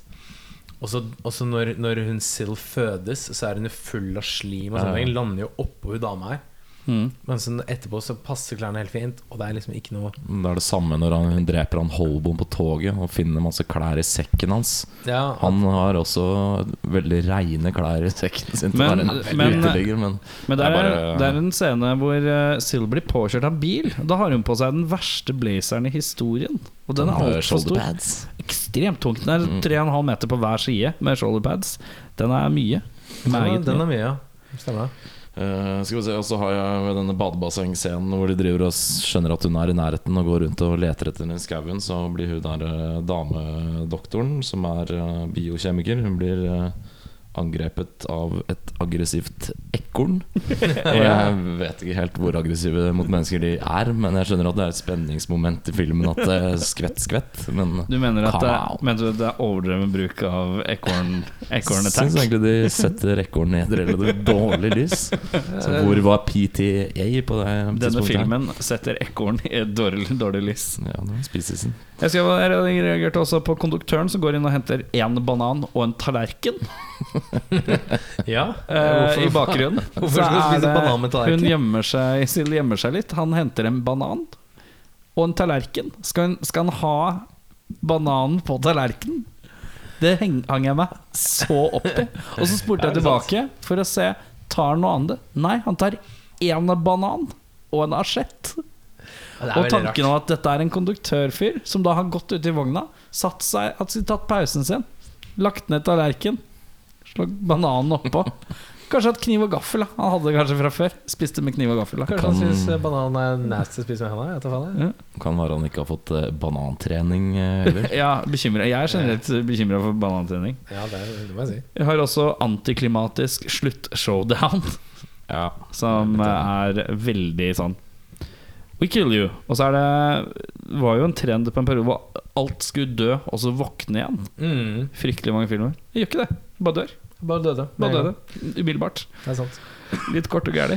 Speaker 2: og så og så når, når hun Sill fødes, så er hun jo full av slim og sånne
Speaker 5: Ja.
Speaker 2: ting. Lander jo oppå hun dama her.
Speaker 3: Mm.
Speaker 2: Men sånn etterpå så passer klærne helt fint, og det er liksom ikke noe
Speaker 5: Det er det samme når han, hun dreper han Holbom på toget og finner masse klær i sekken hans.
Speaker 2: Ja,
Speaker 5: Han har også veldig reine klær i sekken sin. til å
Speaker 3: Men-
Speaker 5: være en
Speaker 3: men-
Speaker 5: uteligger, men
Speaker 3: Men det
Speaker 5: Jeg
Speaker 3: er,
Speaker 5: bare-
Speaker 3: det er en scene hvor eh, Syl blir påkjørt av en bil. Da har hun på seg den verste blazeren i historien. Og den er
Speaker 5: Han har
Speaker 3: altfor
Speaker 5: shoulder
Speaker 3: stor. Ekstremt tung. Den er
Speaker 5: Mm.
Speaker 3: 3,5 meter på hver side med shoulder pads. Den er mye.
Speaker 2: den,
Speaker 3: Meget
Speaker 2: den
Speaker 3: mye.
Speaker 2: er mye, ja. Stemmer det.
Speaker 5: Eh, skal vi se, Og så har jeg ved denne badebassengscenen hvor de driver og skjønner at hun er i nærheten og går rundt og leter etter henne i skauen, så blir hun der eh, damedoktoren, som er eh, biokjemiker, hun blir eh, angrepet av et aggressivt ekorn. Og jeg vet ikke helt hvor aggressive mot mennesker de er, men jeg skjønner at det er et spenningsmoment i filmen at det er skvett, skvett. Men
Speaker 3: Du mener at det,
Speaker 5: Wow.
Speaker 3: mener du at det er overdreven bruk av ekorn ekorn
Speaker 5: jeg
Speaker 3: attack?
Speaker 5: syns egentlig de setter ekorn i et relativt dårlig lys. Så hvor var PTA på det
Speaker 3: Denne
Speaker 5: tidspunktet her?
Speaker 3: filmen setter ekorn i et dårlig, dårlig lys.
Speaker 5: Ja, det var spisisen.
Speaker 3: Jeg, skal, jeg reagerte også på konduktøren som går inn og henter én banan og en tallerken
Speaker 2: Ja,
Speaker 3: eh, i
Speaker 2: hvorfor-
Speaker 3: bakgrunnen.
Speaker 2: Hvorfor
Speaker 3: Så
Speaker 2: skal du
Speaker 3: er
Speaker 2: spise
Speaker 3: det-
Speaker 2: banan med tallerken?
Speaker 3: Hun gjemmer seg, Sil gjemmer seg litt. Han henter en banan og en tallerken. Skal, hun, skal han ha bananen på tallerkenen? Det heng, hang jeg meg så opp i. Og så spurte jeg tilbake for å se Tar han noe annet. Nei, han tar én banan og en asjett.
Speaker 2: Ja, det er
Speaker 3: Og
Speaker 2: veldig
Speaker 3: tanken
Speaker 2: rart.
Speaker 3: om at dette er en konduktørfyr som da har gått ut i vogna, satt seg, at de tatt pausen sin, lagt ned tallerken, slått bananen oppå. Kanskje hatt kniv og gaffel. da. Han hadde det kanskje fra før. Spiste med kniv og gaffel. da.
Speaker 2: Kanskje han syns eh, banan er nasty å spise med hendene? Jeg vet da faen, jeg.
Speaker 5: Kan være han ikke har fått eh, banantrening eh, heller.
Speaker 3: Ja, bekymret. Jeg er generelt bekymra for banantrening.
Speaker 2: Ja, det, er, det må jeg si.
Speaker 3: Jeg har også antiklimatisk sluttshowdown,
Speaker 5: ja.
Speaker 3: som er veldig sånn We kill you. Og så er det var jo en trend på en periode hvor alt skulle dø, og så våkne igjen.
Speaker 2: Mm.
Speaker 3: fryktelig mange filmer. Jeg gjør ikke det. Bare dør.
Speaker 2: Bare døde.
Speaker 3: Bare
Speaker 2: Med en
Speaker 3: døde. Umiddelbart.
Speaker 2: gang. Det er sant.
Speaker 3: Litt kort og gæli.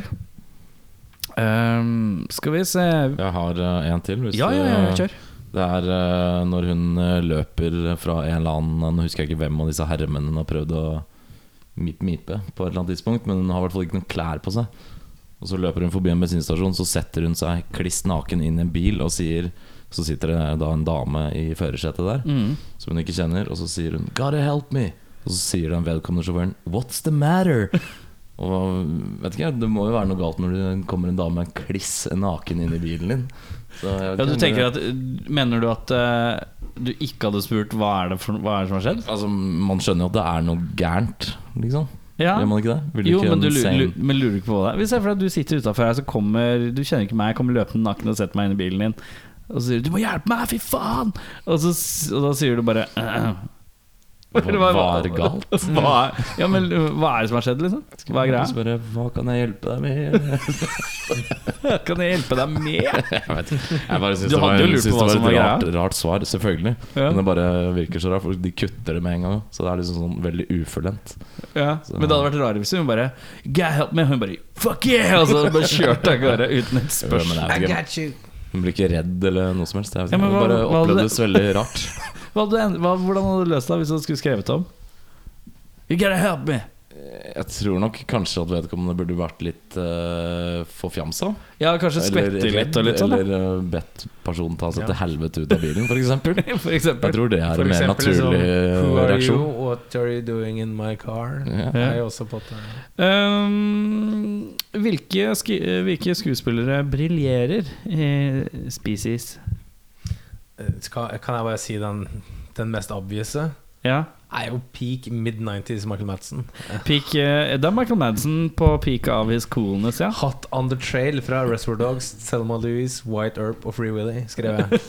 Speaker 3: Ehm, skal vi se
Speaker 5: Jeg har eh, en til. Hvis
Speaker 3: Ja, ja, ja,
Speaker 5: du-
Speaker 3: kjør.
Speaker 5: Det er eh, når hun eh, løper fra en eller annen Nå husker jeg ikke hvem av disse herremennene har prøvd å mipe på et eller annet tidspunkt, men hun har i hvert fall ikke noen klær på seg. Og så løper hun forbi en bensinstasjon, så setter hun seg kliss naken inn i en bil og sier Så sitter det da en dame i førersetet der
Speaker 3: Mm.
Speaker 5: som hun ikke kjenner, og så sier hun 'Gotta help me'. Og så sier den vedkommende sjåføren 'What's the matter?' Og vet ikke, jeg, Det må jo være noe galt når det kommer en dame kliss naken inn i bilen din. Så jeg vet
Speaker 3: Ja,
Speaker 5: ikke
Speaker 3: du
Speaker 5: om
Speaker 3: tenker at eh, Mener du at eh, du ikke hadde spurt hva er det, for, hva er det som har skjedd?
Speaker 5: Altså, Man skjønner jo at det er noe gærent, liksom.
Speaker 3: Ja.
Speaker 5: Gjør man ikke det? Vil
Speaker 3: Jo,
Speaker 5: ikke
Speaker 3: men du
Speaker 5: en
Speaker 3: lurer,
Speaker 5: sane-
Speaker 3: lurer, men lurer ikke på hva det er. Vi ser for deg at du sitter utafor her, så kommer Du kjenner ikke meg, jeg kommer løpende naken og setter meg inn i bilen din. Og så sier du 'du må hjelpe meg, fy faen'! Og, så, s- og da sier du bare «Eh, eh».
Speaker 5: Hva var galt?
Speaker 3: Hva er, ja, men hva er det som har skjedd, liksom? Hva er greia?
Speaker 5: Du Spørre, hva kan jeg hjelpe deg med?
Speaker 3: Kan jeg hjelpe deg med?
Speaker 5: Jeg vet ikke. Jeg bare synes
Speaker 3: Du
Speaker 5: det var,
Speaker 3: hadde jo lurt
Speaker 5: synes
Speaker 3: på hva
Speaker 5: det
Speaker 3: som
Speaker 5: var
Speaker 3: var
Speaker 5: et
Speaker 3: greia.
Speaker 5: rart, rart svar, selvfølgelig.
Speaker 3: Ja.
Speaker 5: Men det bare virker så rart, for de kutter det med en gang. Så det er liksom sånn veldig ufullendt.
Speaker 3: Ja. Men det hadde vært rarere hvis hun bare God help me! Og Hun bare Fuck yeah! Og så bare kjørte av gårde uten et
Speaker 5: Jo, men det
Speaker 3: spørsmål.
Speaker 5: er jo ikke-
Speaker 2: got you.
Speaker 5: Hun blir ikke redd eller noe som helst. Jeg vet
Speaker 3: Ja,
Speaker 5: ikke.
Speaker 3: men
Speaker 5: det
Speaker 3: hva-
Speaker 5: bare
Speaker 3: hva hadde
Speaker 5: opplevdes veldig rart.
Speaker 3: Hva hadde du end- hva, hvordan hadde du løst det hvis du skulle skrevet om? You gotta help me!
Speaker 5: Jeg tror nok kanskje at vedkommende burde vært litt uh, forfjamsa.
Speaker 3: Ja, kanskje
Speaker 5: Eller
Speaker 3: skvette litt og litt sånn. da.
Speaker 5: Eller eh, bedt personen ta seg til helvete ut av bilen, f.eks.
Speaker 3: For eksempel.
Speaker 5: Jeg tror det er
Speaker 2: For
Speaker 5: en mer
Speaker 2: eksempel
Speaker 5: naturlig eh,
Speaker 2: liksom, Who are you?
Speaker 5: reaksjon.
Speaker 2: What are you doing in my car?
Speaker 5: Ja.
Speaker 2: Jeg er også på at, eh,
Speaker 3: Um, hvilke, ski, hvilke skuespillere briljerer i Species?
Speaker 2: eh, Skal, kan jeg bare si den, den mest obviouse?
Speaker 3: Ja.
Speaker 2: Er jo peak mid-90s Michael Madsen.
Speaker 3: Peak, eh, det er Michael Madsen på peaket av his coolness, ja.
Speaker 2: Hot on the trail fra Reservoir Dogs, Selma Louise, White Earp og Free Willy, skrev jeg.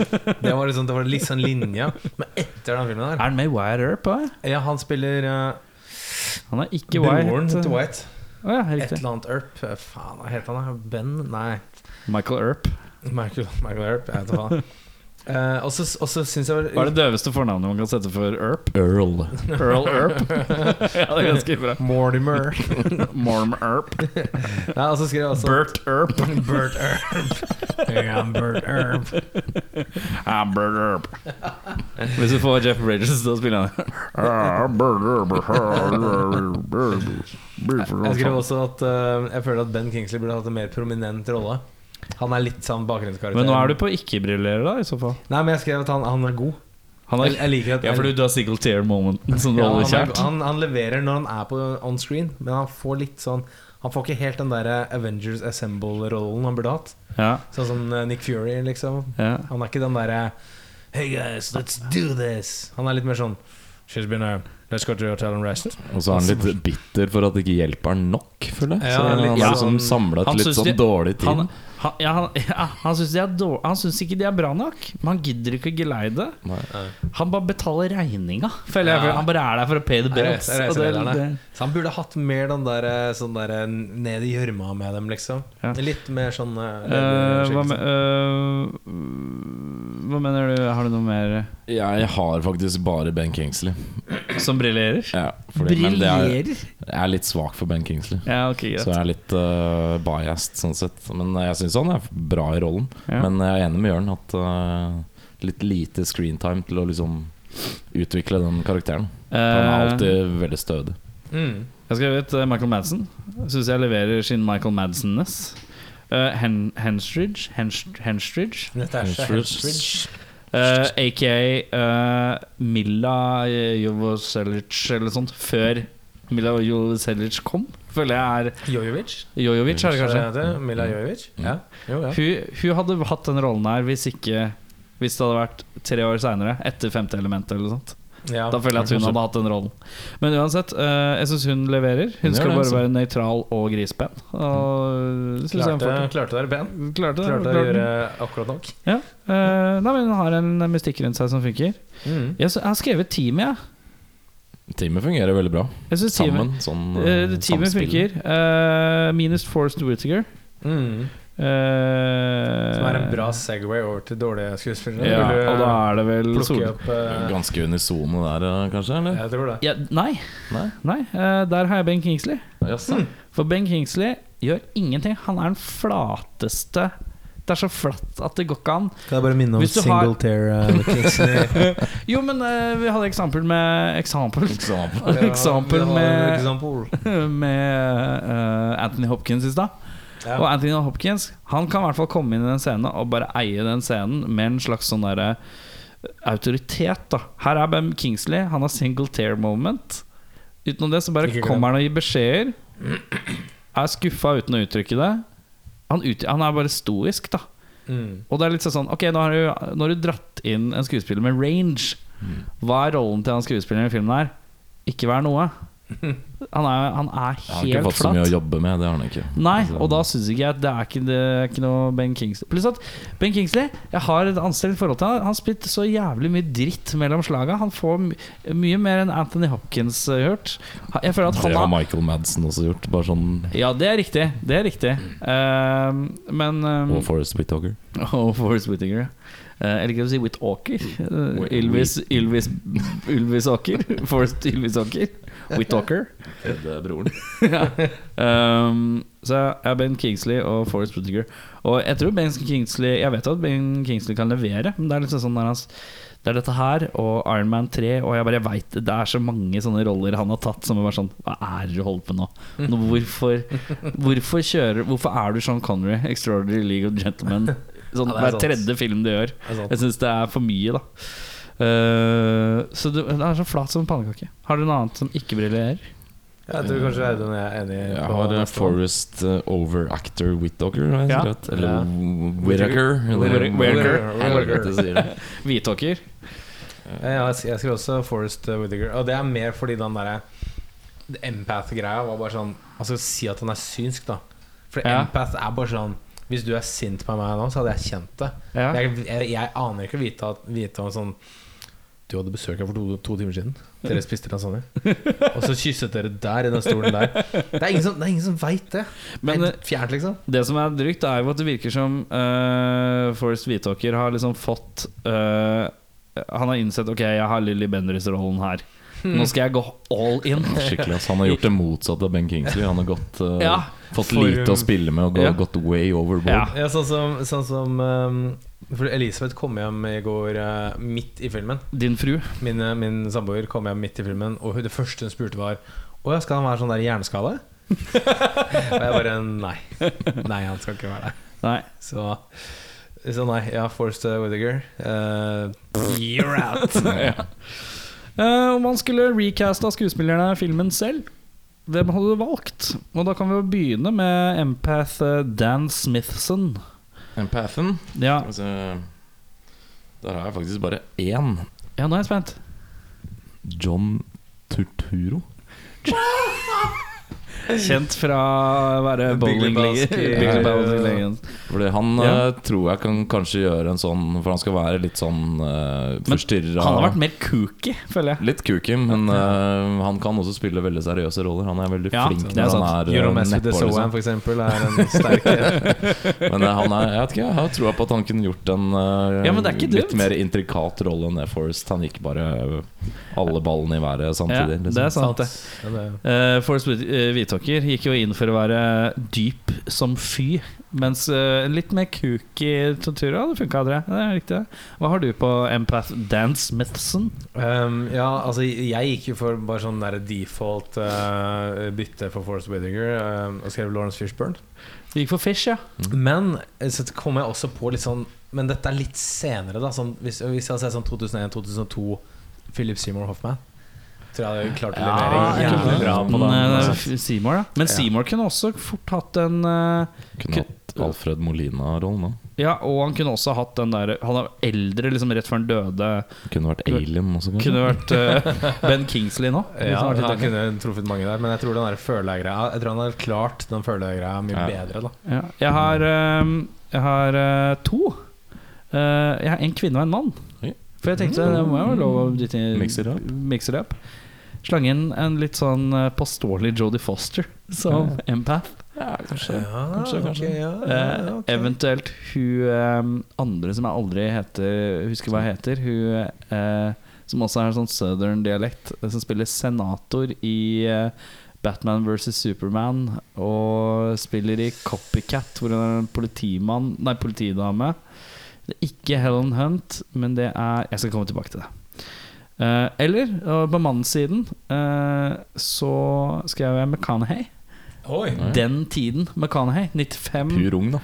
Speaker 2: Det var liksom, det var litt sånn linja. Men etter den filmen
Speaker 3: Er
Speaker 2: der
Speaker 3: han med i Wire Earp? da?
Speaker 2: Ja, han spiller eh,
Speaker 3: Han er ikke White.
Speaker 2: broren til White.
Speaker 3: Å ja,
Speaker 2: Et
Speaker 3: riktig.
Speaker 2: eller annet Earp. Eh, Faen, hva heter han? da? Ben? Nei.
Speaker 3: Michael Earp.
Speaker 2: Michael, Michael Earp. Jeg vet da faen. Eh, og så- og så syns jeg
Speaker 3: Hva er det døveste fornavnet man kan sette for Earp?
Speaker 5: Earl.
Speaker 3: Earl Earp. ja, det er ganske bra.
Speaker 2: Mortimer.
Speaker 3: Morm Earp.
Speaker 2: Nei, og så skrev jeg også
Speaker 3: Bert Earp.
Speaker 2: Bert Earp. Ja, Bert Earp.
Speaker 3: Amber Earp. Hvis du får Jeff Bridges til å spille han.
Speaker 2: Jeg skrev også at eh, jeg føler at Ben Kingsley burde hatt en mer prominent rolle. Han er litt sånn bakgrunnskarakter.
Speaker 3: Men nå er du på ikke-brillere, da, i så fall.
Speaker 2: Nei, men jeg skrev at han, han er god.
Speaker 3: Han
Speaker 2: Jeg,
Speaker 3: er,
Speaker 2: jeg liker at
Speaker 3: ja, for du, du har single tear-momenten som du
Speaker 2: Ja,
Speaker 3: holder
Speaker 2: han, er,
Speaker 3: kjært.
Speaker 2: han, han leverer når han er på on screen, men han får litt sånn Han får ikke helt den der Avengers Assemble-rollen han burde hatt.
Speaker 3: Ja,
Speaker 2: Sånn som eh, Nick Fury, liksom.
Speaker 3: ja.
Speaker 2: Han er ikke den derre Hey guys, let's do this. Han er litt mer sånn She's been a Let's go to your hotel and rest.
Speaker 5: Og så er han litt bitter for at det ikke hjelper han nok, føler jeg.
Speaker 2: Ja,
Speaker 5: Så han
Speaker 2: litt
Speaker 5: er liksom
Speaker 2: sånn-
Speaker 5: samla
Speaker 3: Han
Speaker 5: til litt
Speaker 3: synes
Speaker 5: sånn
Speaker 3: de-
Speaker 5: dårlig tid.
Speaker 3: Han, han, ja, han, ja, han syns de er dår- han syns ikke de er bra nok, men han gidder ikke å geleide.
Speaker 5: Nei.
Speaker 3: Han bare betaler regninga, føler jeg.
Speaker 2: Ja.
Speaker 3: Han bare er der for å pay the
Speaker 2: Er
Speaker 3: bills.
Speaker 2: reise- er
Speaker 3: og det-
Speaker 2: reiselederne.
Speaker 3: det-
Speaker 2: Så han burde hatt mer den der eh, sånn der eh, ned i gjørma med dem, liksom.
Speaker 3: Ja.
Speaker 2: Litt mer sånn eh,
Speaker 3: Eh, hva, me-
Speaker 2: lederskikkelse.
Speaker 3: eh, hva mener du? Har du noe mer
Speaker 5: Jeg har faktisk bare Ben Kingsley.
Speaker 3: som briljerer?
Speaker 5: Ja, fordi, men det er,
Speaker 3: Briljerer?
Speaker 5: jeg er litt svak for Ben Kingsley.
Speaker 3: Ja, ok, greit.
Speaker 5: Så jeg er litt eh, biased, sånn sett. Men jeg syns han er bra i rollen.
Speaker 3: Ja.
Speaker 5: Men jeg er enig med Jørn at eh, litt lite screentime til å liksom utvikle den karakteren. For han er
Speaker 3: Eh,
Speaker 5: alltid veldig stødig.
Speaker 2: Mm.
Speaker 3: Jeg har skrevet eh, Michael Madsen. Syns jeg leverer sin Michael Madsen-ness. Eh, Hen Henstridge Henst- Henstridge,
Speaker 2: Natasha Henstridge.
Speaker 3: eh, aka eh, Milla Jovoselic eller noe sånt, før Milla Jovoselic kom, føler jeg er
Speaker 2: Jojovic.
Speaker 3: Jojovic, er det kanskje?
Speaker 2: Er det det? Mila Jojovic?
Speaker 5: Mm.
Speaker 2: Ja. Jo, ja.
Speaker 3: Hun, hun hadde hatt den rollen her hvis ikke Hvis det hadde vært tre år seinere, etter femte element eller noe sånt.
Speaker 2: ja.
Speaker 3: Da føler jeg at hun hadde hatt den rollen. Men uansett, eh, jeg syns hun leverer. Hun skal
Speaker 5: gjør det,
Speaker 3: bare
Speaker 5: altså.
Speaker 3: være nøytral og grispen. Og synes jeg hun
Speaker 2: Klarte,
Speaker 3: får til.
Speaker 2: klarte å være ben.
Speaker 3: Klarte det.
Speaker 2: Klarte å
Speaker 3: klarte
Speaker 2: gjøre
Speaker 3: det.
Speaker 2: akkurat nok.
Speaker 3: Ja. Eh, nei, men hun har en mystikk rundt seg som funker. Jeg, s- jeg har skrevet teamet, jeg.
Speaker 5: Teamet fungerer veldig bra
Speaker 3: jeg synes teamet,
Speaker 5: sammen. Sånn,
Speaker 3: eh,
Speaker 5: eh,
Speaker 3: teamet
Speaker 5: samspill.
Speaker 3: funker. Eh, minus Forrest Whittaker.
Speaker 2: Mm. Som er en bra Segway over til dårlige
Speaker 3: Eh.
Speaker 2: skuespillere.
Speaker 3: ja,
Speaker 2: Vil du
Speaker 3: Og da er det vel
Speaker 2: plukke
Speaker 3: Sol...
Speaker 2: opp eh,
Speaker 5: Ganske unisone der, eh, kanskje? Eller?
Speaker 2: Jeg tror det.
Speaker 3: Ja, nei.
Speaker 5: Nei?
Speaker 3: nei eh, der har jeg Ben Kingsley.
Speaker 5: Jaså.
Speaker 3: For Ben Kingsley gjør ingenting. Han er den flateste Det er så flatt at det går ikke an.
Speaker 2: Kan jeg bare minne
Speaker 3: om Hvis du har-
Speaker 2: eh, Kingsley?
Speaker 3: Jo, men eh, vi hadde eksempel med Eksempel,
Speaker 5: Eksempel.
Speaker 3: eksempel med,
Speaker 2: Example.
Speaker 3: med eh, Anthony Hopkins i stad.
Speaker 2: Ja.
Speaker 3: Og Anthony Hopkins Han kan i hvert fall komme inn i den scenen og bare eie den scenen med en slags sånn derre eh, autoritet. da Her er Ben Kingsley, han har single tear moment. Utenom det så bare
Speaker 2: Ikke glem.
Speaker 3: kommer han og gir beskjeder. Er skuffa uten å uttrykke det. Han, ut, han er bare stoisk, da.
Speaker 2: Mm.
Speaker 3: Og det er litt sånn Ok, nå har du, nå har du dratt inn en skuespiller med range.
Speaker 5: Mm.
Speaker 3: Hva er rollen til han skuespilleren i filmen her? Ikke vær noe. Han er, han er helt
Speaker 5: Jeg har ikke fått så
Speaker 3: flat.
Speaker 5: mye å jobbe med, altså. det har han ikke.
Speaker 3: Nei,
Speaker 5: Så-
Speaker 3: og da syns ikke jeg at det er ikke, det er ikke noe Ben Kingsley. Pluss at Ben Kingsley Jeg har et anstrengt forhold til han. Han spilte så jævlig mye dritt mellom slaga. Han får my mye mer enn Anthony Hopkins eh, hørt. Ha- Jeg føler at
Speaker 5: Det
Speaker 3: han
Speaker 5: har
Speaker 3: har
Speaker 5: Michael Madsen også gjort, bare sånn
Speaker 3: Ja, det er riktig. Det er riktig. Ehm, men ehm,
Speaker 5: Mm. Og Forest Whittaker.
Speaker 3: Og Forrest Whittaker, ja. Eh, Jeg liker å si Whittaker. Uh,
Speaker 5: Whi-
Speaker 3: Ylvis Ylvis Ylvis Aker. Forrest Ylvis Aker. Whittaker.
Speaker 5: Broren.
Speaker 3: ja. um, så jeg er Ben Kingsley og Forrest Whittaker. Og jeg tror Ben Kingsley Jeg vet jo at Ben Kingsley kan levere, men det er liksom sånn der hans det er dette her og Iron Man 3, og jeg bare vet, det er så mange sånne roller han har tatt som er bare sånn Hva er det du holder på nå? nå hvorfor, hvorfor, kjører, hvorfor er du Sean Connery, Extraordinary League of Gentlemen? Sånn,
Speaker 2: Ja, det er
Speaker 3: hver
Speaker 2: sant.
Speaker 3: tredje film du gjør.
Speaker 2: Det er sant.
Speaker 3: Jeg syns det er for mye, da. Eh, så det, det er så flat som en pannekake. Har du noe annet som ikke briljerer?
Speaker 2: Jeg tror kanskje Audun og jeg er enige.
Speaker 5: Jeg
Speaker 2: på
Speaker 5: har eh,
Speaker 2: neste
Speaker 5: Forrest eh, Over Actor Whittaker, har jeg
Speaker 3: Ja.
Speaker 5: skrevet. Eller
Speaker 2: Ja.
Speaker 5: Whittaker. eller-
Speaker 3: Whittaker.
Speaker 5: Helvete sier det.
Speaker 3: Hvitåker?
Speaker 2: Ja, Jeg, jeg skrev også Forrest Whittaker. Og det er mer fordi den derre empath-greia var bare sånn Altså si at han er synsk, da. For
Speaker 3: Ja.
Speaker 2: empath er bare sånn Hvis du er sint på meg nå, så hadde jeg kjent det.
Speaker 3: Ja.
Speaker 2: Jeg, jeg, jeg aner ikke å vite, at- vite om sånn Du hadde besøk her for to, to timer siden. Dere spiste lasagne. Og så kysset dere der, i den stolen der. Det er ingen som, det er ingen som veit det.
Speaker 3: Men, eh,
Speaker 2: det er fjernt, liksom.
Speaker 3: Det som er drygt, er jo at det virker som uh, Forrest Hvitåker har liksom fått eh, Han har innsett Ok, jeg har Lilly Bendriss-rollen her. Nå skal jeg gå all in.
Speaker 5: Skikkelig, ass. Han har gjort det motsatte av Ben Kingsley. Han har gått, eh,
Speaker 3: Ja.
Speaker 5: fått
Speaker 2: For-
Speaker 5: lite å spille med og gå,
Speaker 3: Ja.
Speaker 2: eh,
Speaker 5: gått way overboard.
Speaker 3: Ja.
Speaker 2: Ja, sånn som, sånn som um, For Elisabeth kom hjem i går eh, midt i filmen.
Speaker 3: Din fru.
Speaker 2: Min, eh, min samboer kom hjem midt i filmen, og hun, det første hun spurte, var Å ja, skal han være sånn der hjerneskade? og jeg bare Nei. Nei, han skal ikke være det.
Speaker 3: Nei.
Speaker 2: Så, så nei. Ja, Forrest Whittaker. Eh, you're out.
Speaker 3: Eh, om man skulle recaste skuespillerne i filmen selv, hvem hadde du valgt? Og da kan vi jo begynne med empath eh, Dan Smithson.
Speaker 5: Empathen.
Speaker 3: Ja,
Speaker 5: Altså, der har jeg faktisk bare én.
Speaker 3: ja nå er jeg spent.
Speaker 5: John Turturo.
Speaker 3: Kjent fra å være
Speaker 2: Big
Speaker 3: bowlinglegger.
Speaker 2: Lebowski.
Speaker 3: Big Lebowski-legenden.
Speaker 5: Fordi han
Speaker 3: Ja.
Speaker 5: eh, tror jeg kan kanskje gjøre en sånn For han skal være litt sånn uh, forstyrra.
Speaker 3: Han har vært mer kooky, føler jeg.
Speaker 5: Litt kooky, men eh, han kan også spille veldig seriøse roller. Han er veldig
Speaker 3: Ja,
Speaker 5: flink
Speaker 3: det er
Speaker 5: når han
Speaker 3: sant.
Speaker 5: er
Speaker 2: You're a
Speaker 5: eh,
Speaker 2: mess with the
Speaker 5: nedpå, liksom.
Speaker 2: Sohan, for eksempel, er en sterk
Speaker 5: Men eh, han er, jeg vet ikke, jeg har troa på at han kunne gjort en eh,
Speaker 3: Ja, men det er ikke
Speaker 5: litt
Speaker 3: dumt.
Speaker 5: mer intrikat rolle enn Air Forest. Han gikk bare eh, alle ballene i været
Speaker 3: Ja,
Speaker 5: samtidig. liksom.
Speaker 3: det er sant, det.
Speaker 2: Ja, det-
Speaker 3: Uh, Forrest Whit- eh, Whitaker gikk jo inn for å være dyp som fy, mens eh, en litt mer kooky Tortura hadde funka, André. Det er riktig. det. Hva har du på Empath Dan Smithson?
Speaker 2: Um, ja, altså jeg gikk jo for bare sånn der default eh, bytte for Forest Whittaker eh, og skrev Lawrence Fishburne.
Speaker 3: Du gikk for Fish, ja.
Speaker 2: Men eh, så kom jeg også på litt sånn Men dette er litt senere, da. Sånn, hvis, hvis jeg hadde sett sånn 2001-2002, Philip Seymour Hoffman, tror jeg jeg hadde klart å levere jævlig bra på
Speaker 3: Men,
Speaker 2: den.
Speaker 3: eh,
Speaker 2: Altså.
Speaker 3: F- Seymour, da. Men
Speaker 2: Ja.
Speaker 3: Seymour kunne også fort hatt en eh,
Speaker 5: Kunne hatt Alfred Molina-rollen òg.
Speaker 3: Ja, og han kunne også hatt den der Han er eldre, liksom rett før han døde.
Speaker 5: Kunne vært Alien også, kanskje.
Speaker 3: Kunne vært eh, Ben Kingsley nå.
Speaker 2: Mm. Ja, han kunne truffet mange der, men jeg tror den der følegreia Jeg tror han hadde klart den følegreia mye
Speaker 5: Ja.
Speaker 2: bedre, da.
Speaker 3: Ja. Jeg har, ehm, jeg har eh, to. Eh, jeg har en kvinne og en mann.
Speaker 5: Oi.
Speaker 3: For jeg tenkte det må jeg jo lov å dytte i-
Speaker 5: Mixer up.
Speaker 3: mixer up. Slange inn en litt sånn eh, påståelig Jodie Foster som empath.
Speaker 5: Ja, kanskje.
Speaker 2: Ja,
Speaker 5: Kanskje, kanskje.
Speaker 2: ok, ja,
Speaker 3: Eh,
Speaker 2: ja, ok.
Speaker 3: Eventuelt hun ehm, andre som jeg aldri heter, husker hva hun heter. Hun eh, som også har en sånn southern dialekt, eh, som spiller senator i eh, Batman vs. Superman. Og spiller i Copycat, hvor hun er en politimann Nei, politidame. Det er ikke Helen Hunt, men det er Jeg skal komme tilbake til det. Eh, eller, og på mannssiden, eh, så skrev jeg McConaughey.
Speaker 2: Oi!
Speaker 5: Mm.
Speaker 3: Den tiden McConaughey. 95.
Speaker 5: Pur ung, da.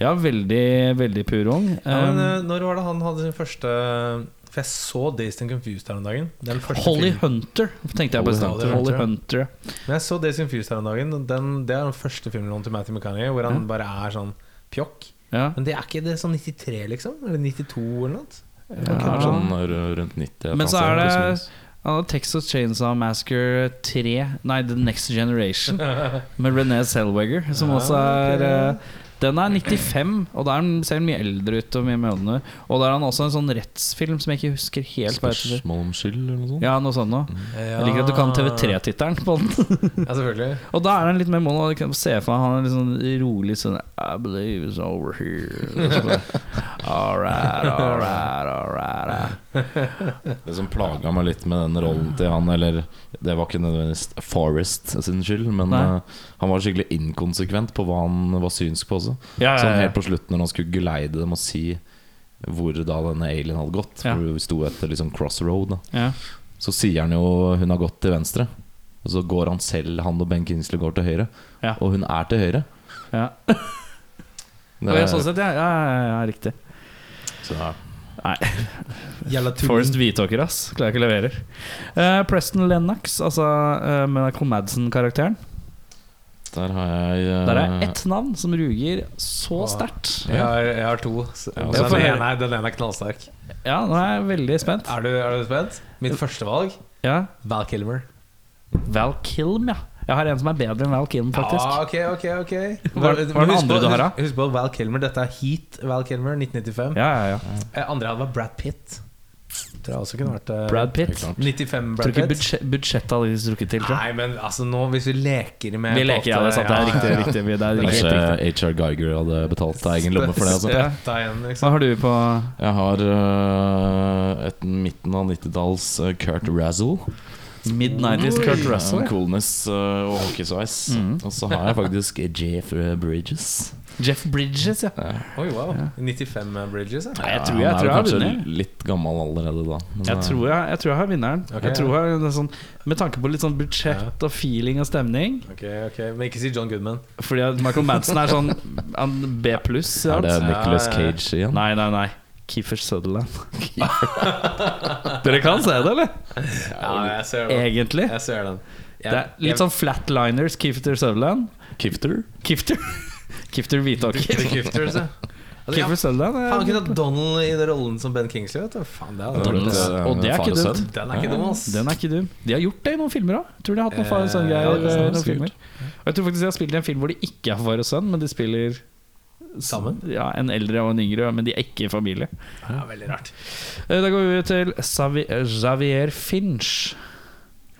Speaker 3: Ja, veldig, veldig pur ung.
Speaker 2: Ja, men,
Speaker 3: Um,
Speaker 2: eh, når var det han hadde sin første For jeg så Dazed and Confused her om dagen. Den første
Speaker 3: Holly
Speaker 2: filmen.
Speaker 3: Hunter, tenkte jeg på i stad.
Speaker 2: Holly Hunter.
Speaker 3: Holly Hunter.
Speaker 2: Men jeg så Dazed and Confused her om dagen. og Den, det er den første filmrollen til Matthew McCartney hvor han bare er sånn pjokk.
Speaker 3: Ja.
Speaker 2: Men det er ikke det er sånn 93, liksom? Eller 92, eller noe?
Speaker 5: Ja.
Speaker 3: Ja.
Speaker 5: Sånn ru- rundt 90.
Speaker 3: Men
Speaker 5: et
Speaker 3: så
Speaker 5: eller annet
Speaker 3: er
Speaker 5: sted,
Speaker 3: det han hadde Texas Chainsaw Massacre 3, nei The Next Generation, med René Selweger, som også er eh, Den er 95, og da er han ser han mye eldre ut. Og mye mer eldre. Og da er han også en sånn rettsfilm som jeg ikke husker helt. hva
Speaker 5: plutselig.
Speaker 3: heter.
Speaker 5: Spørsmål om skyld, eller noe sånt.
Speaker 3: Ja, noe sånt noe. Jeg liker at du kan TV3-tittelen på den.
Speaker 2: Ja, selvfølgelig.
Speaker 3: Og da er han litt mer mono. og Du kan se for deg han er litt sånn rolig sånn I believe it's over here. Og så bare, All right, all right, all right.
Speaker 5: Det som plaga meg litt med den rollen til han, eller det var ikke nødvendigvis Forrest sin skyld, men
Speaker 3: Nei.
Speaker 5: eh, han var skikkelig inkonsekvent på hva han var synsk på også.
Speaker 3: Ja,
Speaker 5: Sånn helt på slutten, når han skulle geleide dem og si hvor da denne alien hadde gått,
Speaker 3: Ja.
Speaker 5: for vi sto etter liksom crossroad, da.
Speaker 3: ja.
Speaker 5: så sier han jo hun har gått til venstre. Og så går han selv, han og Ben Kingsley går til høyre.
Speaker 3: Ja.
Speaker 5: Og hun er til høyre.
Speaker 3: Ja.
Speaker 5: Det
Speaker 3: Og
Speaker 5: er-
Speaker 3: jeg, sånn sett, ja, ja, ja, ja, riktig.
Speaker 5: så, ja.
Speaker 2: Jævla
Speaker 3: Forest
Speaker 2: tulling.
Speaker 3: Hvitåker, ass. Klarer ikke å levere. Eh, Preston Lennox, altså uh, Michael Madsen-karakteren.
Speaker 5: Der har jeg eh,
Speaker 3: Der er ett navn som ruger så sterkt.
Speaker 2: Jeg har, jeg har to. Så,
Speaker 5: Ja,
Speaker 2: så
Speaker 3: for-
Speaker 2: den, ene, er- den ene er knallsterk.
Speaker 3: Ja, nå er jeg veldig spent.
Speaker 2: Er du, er du spent? Mitt første valg
Speaker 3: Ja,
Speaker 2: Val Kilmer.
Speaker 3: Val Kilm, ja. Jeg har en som er bedre enn Val Kilm, faktisk.
Speaker 2: Ja, Ah, ok, ok, ok
Speaker 3: Hva er- hva er den
Speaker 2: Men husk
Speaker 3: andre
Speaker 2: på-
Speaker 3: du har, da?
Speaker 2: husk- Husk på Val Kilmer. Dette er Heat Val Kilmer 1995.
Speaker 3: Ja, ja, ja.
Speaker 2: Eh, Andre jeg hadde var Brad Pitt. Tror jeg også kunne vært eh,
Speaker 3: Brad Pitt.
Speaker 5: klart.
Speaker 2: 95
Speaker 3: Tror
Speaker 2: Brad
Speaker 3: ikke
Speaker 2: Pitt.
Speaker 3: budsje- budsjettet hadde strukket til. Tror jeg.
Speaker 2: Nei, men altså nå hvis vi leker med
Speaker 3: Vi leker, ja, det er sant. Det er riktig. riktig vi- det er riktig,
Speaker 5: Kanskje
Speaker 3: riktig.
Speaker 5: HR Geiger hadde betalt deg egen lomme for det. Altså.
Speaker 3: Ja.
Speaker 2: Spetta igjen,
Speaker 3: Hva
Speaker 2: liksom.
Speaker 3: har du på
Speaker 5: Jeg har eh, et midten av 90-talls eh, Kurt Razzle.
Speaker 3: Midnighties Kurt Russell? Mm.
Speaker 5: Coolness eh, og hockeysveis. Og så har jeg faktisk Jeff eh, Bridges.
Speaker 3: Jeff Bridges, ja.
Speaker 2: Oi, wow. 95 Bridges, ja.
Speaker 3: Nei, jeg
Speaker 5: Ja,
Speaker 3: tror jeg, jeg,
Speaker 5: han
Speaker 3: tror jeg
Speaker 5: er
Speaker 3: har
Speaker 5: vel
Speaker 3: vunnet.
Speaker 5: kanskje litt gammel allerede da. men,
Speaker 3: Jeg
Speaker 5: eh,
Speaker 3: tror jeg, jeg tror jeg har vinneren.
Speaker 2: Ok,
Speaker 3: jeg tror jeg, det er sånn, med tanke på litt sånn budsjett og feeling og stemning.
Speaker 2: Ok, ok, Men ikke si John Goodman.
Speaker 3: Fordi at Michael Madsen er sånn han B pluss. i
Speaker 5: Er det
Speaker 3: alt.
Speaker 5: Nicolas
Speaker 2: Ja, ja, ja.
Speaker 5: Cage igjen?
Speaker 3: Nei, nei, nei. Keefer Sutherland. Dere kan se det, eller?
Speaker 2: Ja, jeg ser den.
Speaker 3: Egentlig.
Speaker 2: Jeg ser den. Jeg,
Speaker 3: Det er litt sånn flatliners, Keefer Sutherland.
Speaker 5: Kifter?
Speaker 3: Kifter. Kifter Hvitåker.
Speaker 2: The Gifters, ja. Altså, ja.
Speaker 3: Kiefer Sutherland
Speaker 2: Faen, han
Speaker 3: er
Speaker 2: kunne hatt Donald i den rollen som Ben Kingsley, vet du. Faen, det hadde
Speaker 5: Donald,
Speaker 2: vært
Speaker 5: eh,
Speaker 3: Og det er
Speaker 5: far
Speaker 3: ikke
Speaker 5: og
Speaker 3: dumt.
Speaker 5: sønn.
Speaker 2: Den er ikke dum, ass.
Speaker 3: Den er ikke dum. De har gjort det i noen filmer òg. Tror de har hatt noen far og
Speaker 2: Eh, ja,
Speaker 3: sønn-greier.
Speaker 2: det er
Speaker 3: eh,
Speaker 5: sant,
Speaker 3: noen filmer. og jeg tror faktisk de har spilt i en film hvor de ikke er far og sønn, men de spiller
Speaker 2: Sammen?
Speaker 3: Ja, en eldre og en yngre, men de er ikke i familie.
Speaker 2: Ja, veldig rart.
Speaker 3: Eh, Da går vi til Savi- eh, Xavier Finch.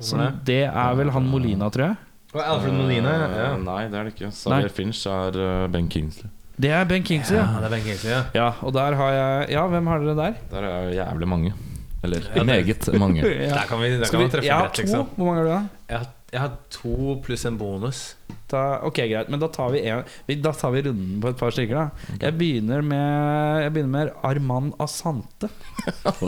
Speaker 3: Som
Speaker 2: Hvor er det?
Speaker 3: det er vel han Molina, tror jeg.
Speaker 2: Og Alfred Molina. Ja.
Speaker 5: Eh, Nei, det er det ikke. Xavier
Speaker 3: Nei.
Speaker 5: Finch er eh, Ben Kingsley.
Speaker 3: Det er Ben Kingsley,
Speaker 2: ja,
Speaker 3: ja.
Speaker 2: det er Ben Kingsley, ja.
Speaker 3: ja. Og der har jeg Ja, hvem har dere der?
Speaker 5: Der er jo jævlig mange. Eller
Speaker 2: Ja, det-
Speaker 5: meget mange.
Speaker 3: Ja.
Speaker 2: Der kan vi, der
Speaker 3: Skal vi,
Speaker 2: kan vi treffe
Speaker 3: jeg har
Speaker 2: rett,
Speaker 3: to.
Speaker 2: liksom.
Speaker 3: Hvor mange har du da?
Speaker 2: Jeg har, jeg har to pluss en bonus.
Speaker 3: Da, ok, greit. Men da tar vi, en, vi- da tar vi runden på et par stykker, da. Jeg begynner med Jeg begynner med Arman Asante.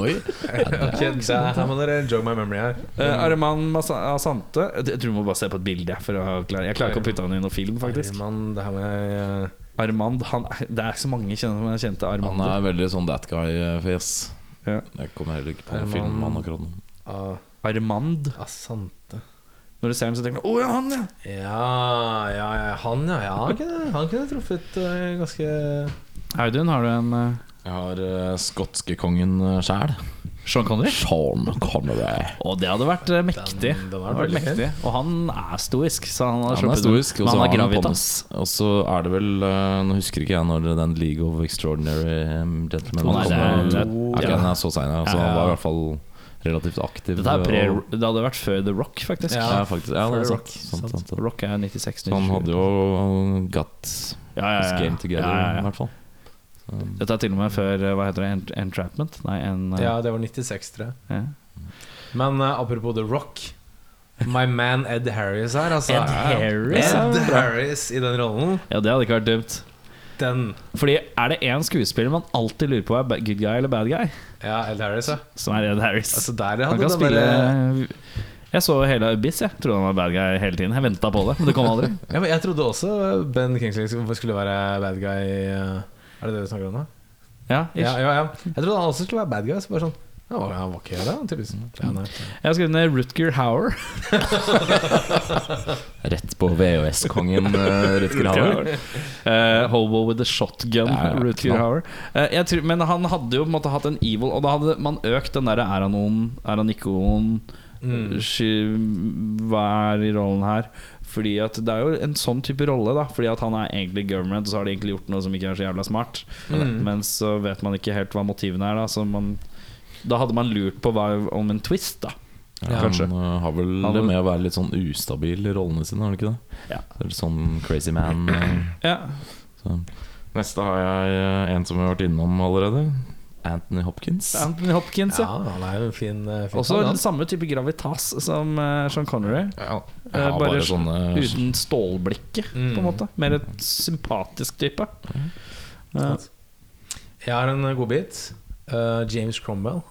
Speaker 5: Oi.
Speaker 2: Ok, der, her må dere jog my memory her.
Speaker 3: Eh, Arman Masa- Asante Jeg tror du må bare se på et bilde. jeg, For å klare, jeg klarer ikke å putte han i noen film, faktisk.
Speaker 2: Herman, det her må jeg eh,
Speaker 3: Armand, han, er- Det er så mange kjen- som er kjente
Speaker 5: Han
Speaker 3: Armander.
Speaker 5: er veldig sånn that guy-fjes.
Speaker 3: Ja.
Speaker 5: Jeg kommer heller ikke på
Speaker 2: Er
Speaker 5: noen
Speaker 2: man-
Speaker 5: film med han akkurat nå.
Speaker 2: ah,
Speaker 3: Armand.
Speaker 2: Asante.
Speaker 3: Når du ser ham, så tenker du 'Å ja, han, ja'.
Speaker 2: Ja, ja, ja, han ja. ja han, kunne, han kunne truffet eh, ganske
Speaker 3: Audun, har du en eh,
Speaker 5: Jeg har uh, skotske kongen uh, sjæl.
Speaker 3: Sean Connery?
Speaker 5: Sean Connery.
Speaker 3: Og det hadde vært eh, mektig.
Speaker 2: Den- den
Speaker 3: Det
Speaker 2: hadde
Speaker 3: hadde
Speaker 2: vært
Speaker 3: vært
Speaker 2: veldig
Speaker 3: mektig Og han er stoisk, så han har
Speaker 5: Han er
Speaker 3: sluppet
Speaker 5: stoisk,
Speaker 3: ut.
Speaker 5: og
Speaker 3: Men
Speaker 5: så
Speaker 3: han har
Speaker 5: har han
Speaker 3: gravitas.
Speaker 5: pondus. Og så er det vel eh, Nå husker ikke jeg når den League of Extraordinary um, Gentlemen
Speaker 3: Nei, det er-
Speaker 5: kom.
Speaker 3: det er-
Speaker 5: Er ikke den er så sein,
Speaker 3: Ja,
Speaker 5: altså,
Speaker 3: ja.
Speaker 5: han var i hvert fall relativt aktiv.
Speaker 3: Dette er pre,
Speaker 5: og-
Speaker 3: det hadde vært før The Rock, faktisk.
Speaker 5: Ja, faktisk. Ja, det er
Speaker 3: Rock.
Speaker 5: sant, sant, sant, sant.
Speaker 3: Rock er 96
Speaker 5: Så han hadde jo got
Speaker 3: ja, ja,
Speaker 5: his
Speaker 3: ja.
Speaker 5: game together,
Speaker 3: Ja, ja,
Speaker 5: i
Speaker 3: ja.
Speaker 5: hvert fall.
Speaker 3: Dette er til og med før eh, hva heter det, Ent- Entrapment? Nei, en eh,
Speaker 2: Ja, det var 96, tror jeg.
Speaker 3: ja.
Speaker 2: Men eh, apropos The Rock. My man Ed Harris her, altså.
Speaker 3: Ed Harris, ja.
Speaker 2: Ed Harris i den rollen.
Speaker 3: ja, det hadde ikke vært dumt.
Speaker 2: Den.
Speaker 3: Fordi er det én skuespiller man alltid lurer på er ba- good guy eller bad guy,
Speaker 2: Ja, Ed Harris, ja.
Speaker 3: som er Ed Harris.
Speaker 2: Altså, der eh, hadde
Speaker 3: han kan
Speaker 2: den
Speaker 3: spille
Speaker 2: derre-
Speaker 3: Jeg så hele Abyss, jeg. Trodde han var bad guy hele tiden. Jeg venta på det, men det kom aldri.
Speaker 2: ja, men Jeg trodde også Ben Kingsley skulle skulle være bad guy. eh, Er det det du snakker om nå?
Speaker 3: Ja, ish.
Speaker 2: Ja, ja, ja. Jeg trodde han også skulle være bad guy. Så bare sånn Han var, han var ikke det, han tydeligvis.
Speaker 3: Mm.
Speaker 2: Ja, nei.
Speaker 3: Jeg har skrevet ned Rutger Hauer.
Speaker 5: Rett på VHS-kongen eh, Rutger Hauer.
Speaker 3: Eh, Hobo with a shotgun.
Speaker 5: Ja, ja,
Speaker 3: Rutger
Speaker 5: knall.
Speaker 3: Hauer. Eh, jeg tror, men han hadde jo på en måte hatt en evil, og da hadde man økt den derre er han noen, er han ikke noen Mm. sky- Hva er i rollen her? Fordi at Det er jo en sånn type rolle. da Fordi at han er egentlig government, og så har de egentlig gjort noe som ikke er så jævla smart. Men så vet man ikke helt hva motivene er. Da Så man, da hadde man lurt på hva, om en twist, da.
Speaker 5: Ja,
Speaker 3: Kanskje.
Speaker 5: Han eh, har vel
Speaker 3: Han-
Speaker 5: det med å være litt sånn ustabil i rollene sine, har han ikke det?
Speaker 3: Ja.
Speaker 5: Så er det Sånn crazy man. eh,
Speaker 3: Ja.
Speaker 5: Så. Neste har jeg eh, en som vi har vært innom allerede. Anthony Hopkins.
Speaker 3: Anthony Hopkins,
Speaker 2: ja,
Speaker 3: ja.
Speaker 2: han er jo en fin, eh, fin
Speaker 3: Også
Speaker 2: mann, han.
Speaker 3: samme type gravitas som eh, Sean Connery.
Speaker 5: Ja, jeg
Speaker 3: Eh,
Speaker 5: har
Speaker 3: bare
Speaker 5: bare sånne
Speaker 3: Uten stålblikket,
Speaker 2: Mm.
Speaker 3: på en måte. Mer et sympatisk type. Eh,
Speaker 2: Jeg har en eh, godbit. Eh, James Cromwell.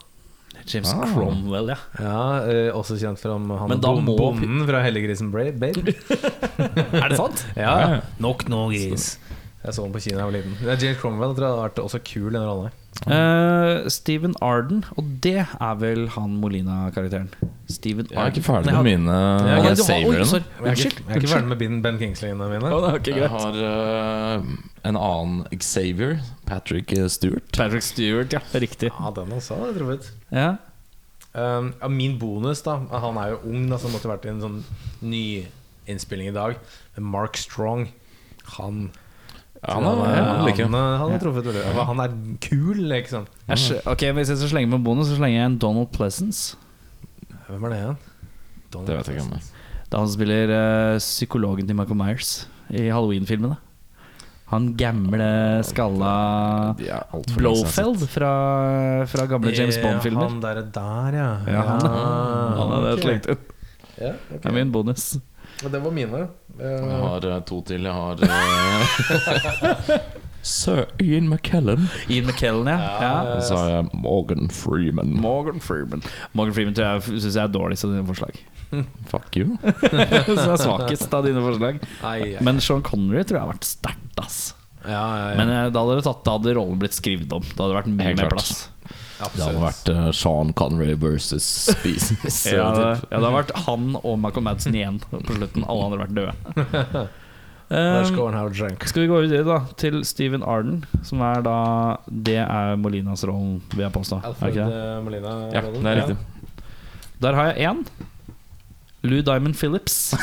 Speaker 3: James
Speaker 5: Ah.
Speaker 3: Cromwell, ja.
Speaker 2: Ja, eh, Også kjent som han
Speaker 3: Men da
Speaker 2: bom-
Speaker 3: må-
Speaker 2: bonden fra Helliggrisen Brave. Babe.
Speaker 3: Er det sant?
Speaker 2: Ja, Nok nå, gris. Jeg så den på kino da jeg var liten. Det er James Cromwell tror jeg hadde vært også kul i den rollen. her.
Speaker 3: Eh, Steven Arden, og det er vel han Molina-karakteren. Steven
Speaker 5: Jeg er
Speaker 3: Arden.
Speaker 5: ikke ferdig med mine eh,
Speaker 3: Å, nei,
Speaker 5: jeg
Speaker 3: du har-
Speaker 5: saver
Speaker 3: oi,
Speaker 5: dem.
Speaker 3: sorry.
Speaker 2: Men Jeg er
Speaker 3: Unnskyld.
Speaker 2: ikke, jeg er ikke ferdig med Ben- Ben Kingsley-ene mine.
Speaker 5: Jeg har eh, en annen Xavier, Patrick eh, Stewart.
Speaker 3: Patrick Stewart, ja. Riktig.
Speaker 2: Ja, den også hadde jeg truffet.
Speaker 3: Ja.
Speaker 2: Um, ja, min bonus, da Han er jo ung, da, så det måtte vært en sånn ny innspilling i dag. Men Mark Strong, han
Speaker 5: Ja, han er- ja, han liker
Speaker 2: han, eh, han har truffet veldig bra. Han er kul, liksom.
Speaker 3: Jeg skj- ok, Hvis jeg skal slenge med bonus, så slenger jeg en Donald Pleasance.
Speaker 2: Hvem er det igjen? Donald
Speaker 5: Det vet jeg ikke om jeg
Speaker 3: Det er han som spiller eh, psykologen til Michael Myers i Halloween-filmene. Han gamle, skalla
Speaker 5: De er alt for lenge siden jeg har
Speaker 3: Blowfeld fra, fra gamle James
Speaker 2: Eh,
Speaker 3: Bond-filmer.
Speaker 2: Han derre der, ja.
Speaker 3: Ja, han-
Speaker 2: ja,
Speaker 3: Han hadde jeg
Speaker 2: ok.
Speaker 3: slengt ut.
Speaker 2: Ja,
Speaker 3: Det er min bonus.
Speaker 2: Men det var mine. Eh,
Speaker 5: Jeg har eh, to til. Jeg har eh, Sir Ian McKellen.
Speaker 3: Ian McKellen, ja. ja.
Speaker 5: Og så har jeg Morgan Freeman.
Speaker 3: Morgan Freeman. Morgan Freeman tror jeg syns jeg er dårligst av dine forslag.
Speaker 5: Fuck you.
Speaker 3: Som er svakest av dine forslag.
Speaker 2: ai, ai.
Speaker 3: Men Sean Connery tror jeg har vært sterkt, ass.
Speaker 2: ja, ja, ja.
Speaker 3: Men eh, da hadde, det tatt, da hadde rollen blitt skrevet om. Da hadde det vært mye
Speaker 5: Helt
Speaker 3: mer
Speaker 5: klart.
Speaker 3: plass.
Speaker 5: Det hadde
Speaker 2: Absolutt.
Speaker 5: vært eh, Sean Connery versus Species.
Speaker 3: Ja, det, ja, det hadde vært han og Michael Madsen igjen på slutten. Alle andre hadde vært
Speaker 2: Lars
Speaker 3: døde. Um,
Speaker 2: Goren Howard Drunk.
Speaker 3: skal vi gå videre da til Steven Arden, som er da Det er Molinas rollen, vil jeg påstå. Er det
Speaker 2: Alfred
Speaker 3: ikke det?
Speaker 2: eh, Molina.
Speaker 5: Ja, det er riktig.
Speaker 3: Der har jeg én. Lou Diamond Phillips.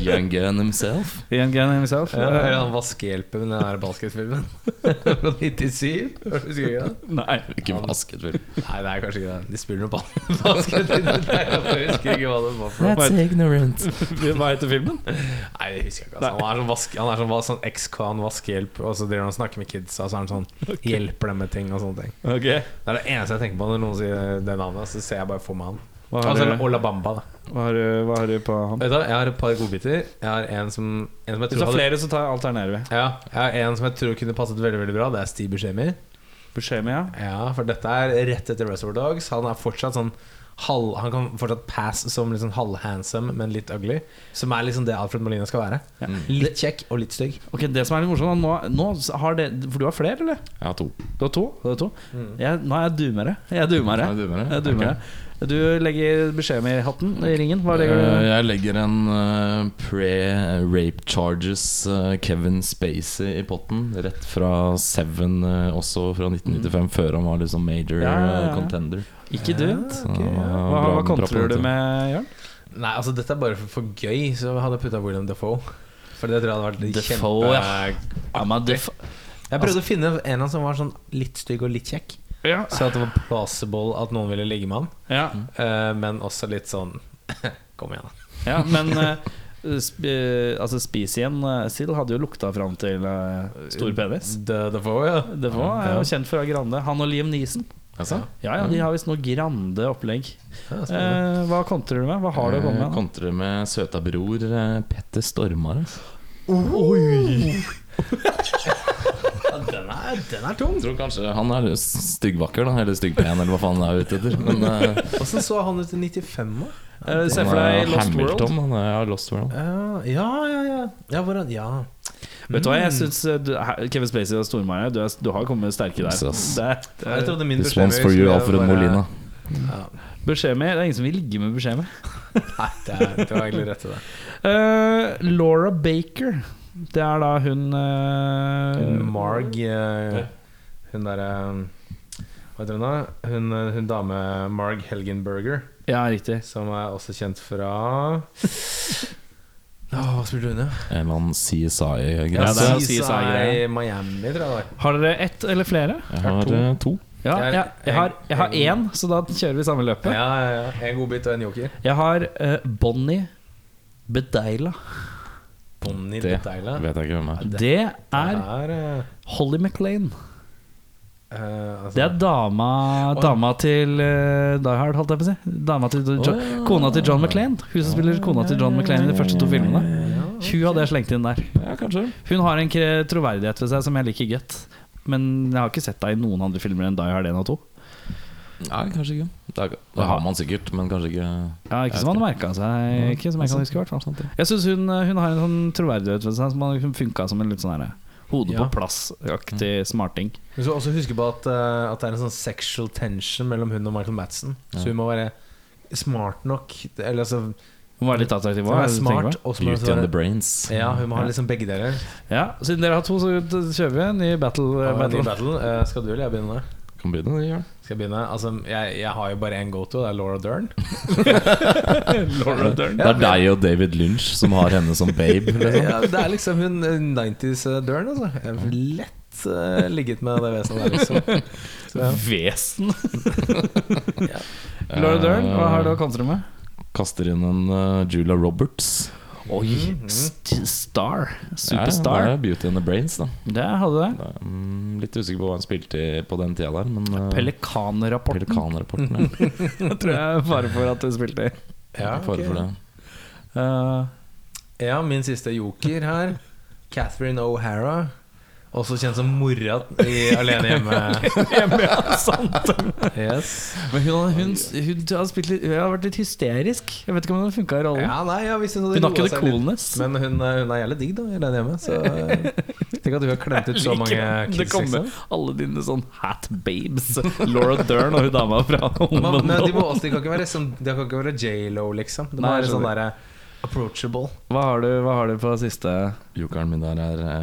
Speaker 5: Young Gun himself.
Speaker 3: Ian Gann himself.
Speaker 2: Ja, eller han vaskehjelpen i den der basketfilmen fra 97. Husker du ikke det?
Speaker 3: Nei.
Speaker 5: Ikke vasket, vel.
Speaker 2: Nei, det er kanskje ikke det. De spiller noe bas- basket. i den der, Jeg husker ikke hva det var for noe.
Speaker 5: ignorant.
Speaker 3: Hva heter filmen?
Speaker 2: Nei, det husker jeg ikke. Altså. Han er sånn, vaske, han er sånn, sånn ex-kvan vaskehjelp, og så driver han og snakker med kidsa, og så er han sånn Hjelper dem med ting og sånne ting.
Speaker 3: Ok
Speaker 2: Det er det eneste jeg tenker på når noen sier det navnet, så ser jeg bare for meg han.
Speaker 3: Hva har,
Speaker 2: Altså,
Speaker 3: du,
Speaker 2: Ola Bamba, da.
Speaker 3: hva, har, du- hva har du på han?
Speaker 2: Vet du, hva, jeg har et par godbiter. Jeg har en som, en som jeg
Speaker 3: Hvis du
Speaker 2: tror
Speaker 3: har
Speaker 2: hadde,
Speaker 3: flere, så tar jeg alternerer vi.
Speaker 2: ja, jeg har en som jeg tror kunne passet veldig veldig bra. Det er Steve Buscemi.
Speaker 3: Buscemi, ja.
Speaker 2: Ja, for dette er rett etter Reservoir Dogs. Han er fortsatt sånn halv, Han kan fortsatt pass som liksom halvhandsome, men litt ugly. Som er liksom det Alfred Molina skal være. Litt kjekk og litt stygg.
Speaker 3: Ok, Det som er litt morsomt, da, nå, nå har det For du har flere, eller?
Speaker 5: Jeg har to.
Speaker 3: Du har to? Du har to. Jeg, nå er jeg dumere. Jeg Mm. er dumere.
Speaker 5: Ja, du er dumere.
Speaker 3: Jeg er dumere. Du legger Buscemi-hatten i ringen. Hva legger
Speaker 5: Eh,
Speaker 3: du?
Speaker 5: jeg legger en eh, pre-rape charges eh, Kevin Spacey i potten. Rett fra Seven, eh, også fra 1995, før han var liksom major
Speaker 3: Ja, ja, ja.
Speaker 5: eh, contender.
Speaker 3: Ikke du?
Speaker 5: Så han var
Speaker 3: Hva,
Speaker 5: bra
Speaker 3: hva
Speaker 5: med
Speaker 3: kontrer
Speaker 5: proppen,
Speaker 3: du
Speaker 5: så.
Speaker 3: med, Jørn?
Speaker 2: Nei, altså dette er bare for, for gøy, så hadde jeg putta William Defoe. For det tror jeg hadde vært
Speaker 3: Defoe,
Speaker 2: kjempe
Speaker 3: ja. Ja, men det f-
Speaker 2: Jeg prøvde å finne en eller annen som var sånn litt stygg og litt kjekk.
Speaker 3: ja.
Speaker 2: Så at det var plausible at noen ville ligge med han.
Speaker 3: Ja.
Speaker 2: Eh, men også litt sånn Kom igjen, da.
Speaker 3: ja, men eh, sp eh, altså, spis igjen. eh, Sild hadde jo lukta fram til eh, stor penis.
Speaker 2: The Defoe, ja.
Speaker 3: Det var er jo kjent fra Grande. Han og Liam Neeson.
Speaker 5: Altså?
Speaker 3: Ja, ja, de har visst noe grande opplegg.
Speaker 2: ja spennende.
Speaker 3: Eh, hva kontrer du med? Hva har du å komme
Speaker 5: Eh,
Speaker 3: med? da?
Speaker 5: Kontrer med søta bror eh, Petter altså. Stormare.
Speaker 2: den, er, den er tung.
Speaker 5: Jeg tror kanskje han er styggvakker, da. Eller styggpen, eller hva faen han er ute etter. Men eh,
Speaker 2: Åssen så han ut i 95, da?
Speaker 3: Eh, Se
Speaker 5: han
Speaker 3: for
Speaker 5: er
Speaker 3: deg Lost World.
Speaker 5: Hamilton. Han er, ja, Lost World.
Speaker 2: Eh, Ja, ja, ja. ja. ja, hvordan, ja.
Speaker 3: Vet du hva, jeg synes, eh, du- her- Kevin Spacey og Stormare, du, er- du har kommet sterke der.
Speaker 5: Jesus.
Speaker 3: Det er-
Speaker 2: Jeg trodde min
Speaker 5: This one's for you, Alfred
Speaker 2: eh,
Speaker 5: Molina.
Speaker 3: Buscemi, det er ingen som vil ligge med Buscemi.
Speaker 2: Nei, det, er, det var egentlig rett til det.
Speaker 3: Eh, Laura Baker. Det er da hun eh,
Speaker 2: Marg eh, Hun derre Hva heter hun da? Hun, eh, hun dame Marg Helgenberger,
Speaker 3: Ja, riktig.
Speaker 2: som er også kjent fra Åh, Hva spilte hun, ja?
Speaker 5: En eller annen CSI-greie.
Speaker 3: Ja, det er
Speaker 2: CSI
Speaker 3: CSI,
Speaker 2: Miami, tror jeg det var.
Speaker 3: Har dere ett eller flere?
Speaker 5: Jeg har eh, to.
Speaker 3: Ja,
Speaker 2: Jeg-
Speaker 3: jeg, jeg, har, jeg har én, så da kjører vi samme løpet.
Speaker 2: Ja, ja, ja. En godbit og en joker.
Speaker 3: Jeg har eh, Bonnie Bedeila.
Speaker 2: Bonnie
Speaker 5: Det
Speaker 2: Deila.
Speaker 5: vet jeg ikke hvem er.
Speaker 3: Det er
Speaker 2: er eh,
Speaker 3: Holly McLean.
Speaker 2: eh, altså,
Speaker 3: Det er dama, dama til uh, Die Hard, holdt jeg på å si. Dama til Jo- Kona til John McLean. Hun som spiller kona til John McLean i de første to filmene. Hun hadde jeg slengt inn der.
Speaker 5: Ja, kanskje.
Speaker 3: Hun har en kre- troverdighet ved seg som jeg liker godt. Men jeg har ikke sett deg i noen andre filmer enn Die Hard 1 og 2.
Speaker 5: Nei, kanskje ikke. Det, er, det har man sikkert, men kanskje ikke
Speaker 3: Ja, ikke som han merka seg. Eh, Ikke som Jeg kan huske i hvert fall sånn Jeg syns hun, hun har en sånn troverdighet ved seg som har funka som en litt sånn her hode på
Speaker 2: Ja. Mm.
Speaker 3: plass-aktig smarting.
Speaker 2: Du skal også huske på at, eh, at det er en sånn sexual tension mellom hun og Michael Madsen. Så hun må være smart nok. Eller altså
Speaker 3: Hun var litt attraktiv
Speaker 2: Hun må være
Speaker 3: også, tenker jeg.
Speaker 2: smart, og så må hun
Speaker 5: Beauty and the
Speaker 2: være
Speaker 5: Brains.
Speaker 2: ja, hun må ha liksom begge deler.
Speaker 3: Ja, Siden dere har to, så kjører vi en ny battle.
Speaker 2: Ja, men
Speaker 3: battle.
Speaker 2: i battle, eh, skal du eller jeg begynne?
Speaker 5: Kan begynne, det gjør det.
Speaker 2: Skal jeg begynne? Altså, jeg, jeg har jo bare én go-to, det er Laura Dern.
Speaker 5: Det er deg og David Lynch som har henne som babe. Liksom.
Speaker 2: Ja, det er liksom hun eh, 90s eh, Dern, altså. Jeg har lett eh, ligget med det vesenet der, liksom. Så, ja.
Speaker 3: Vesen! Laura Dern, hva har du
Speaker 2: Eh,
Speaker 3: å kontre med?
Speaker 5: Kaster inn en eh, Julia Roberts.
Speaker 3: Oi! St star.
Speaker 5: Ja,
Speaker 3: Superstar.
Speaker 5: det er Beauty and the Brains, da.
Speaker 3: Det hadde det.
Speaker 5: Det er, mm, litt usikker på hva han spilte i på den tida der, men eh,
Speaker 3: Pelikanrapporten
Speaker 5: Pelikanrapporten. ja.
Speaker 3: tror jeg er fare for at du spilte i.
Speaker 5: Fare for det.
Speaker 3: Eh,
Speaker 2: Ja, min siste joker her. Catherine O'Hara. Også kjent som mora i Alene hjemme. Yes.
Speaker 3: men hun, hadde- hun, hun, har spilt litt, hun har vært litt hysterisk. Jeg vet ikke om hun har funka i rollen.
Speaker 2: Ja, nei, ja, hvis hun hadde
Speaker 3: Hun har ikke the
Speaker 2: roet seg litt.
Speaker 3: coolness.
Speaker 2: Men hun, eh, hun er jævlig digg, da, i Alene hjemme. Så eh, tenk at hun har klemt ut så
Speaker 3: Jeg
Speaker 2: mange
Speaker 3: liker det. Det
Speaker 2: kids.
Speaker 3: kommer
Speaker 2: Liksom.
Speaker 3: alle dine sånn hat babes. Laura Dern og hun dama fra
Speaker 2: Men,
Speaker 3: Home and
Speaker 2: men de, må
Speaker 3: Alone.
Speaker 2: også, de kan ikke være, sånn, de kan ikke være J.Lo, liksom. Det må
Speaker 3: Nei,
Speaker 2: være sånn
Speaker 3: skjønner.
Speaker 2: derre approachable.
Speaker 3: Hva har du, hva har du på siste
Speaker 5: Jokeren min der er eh,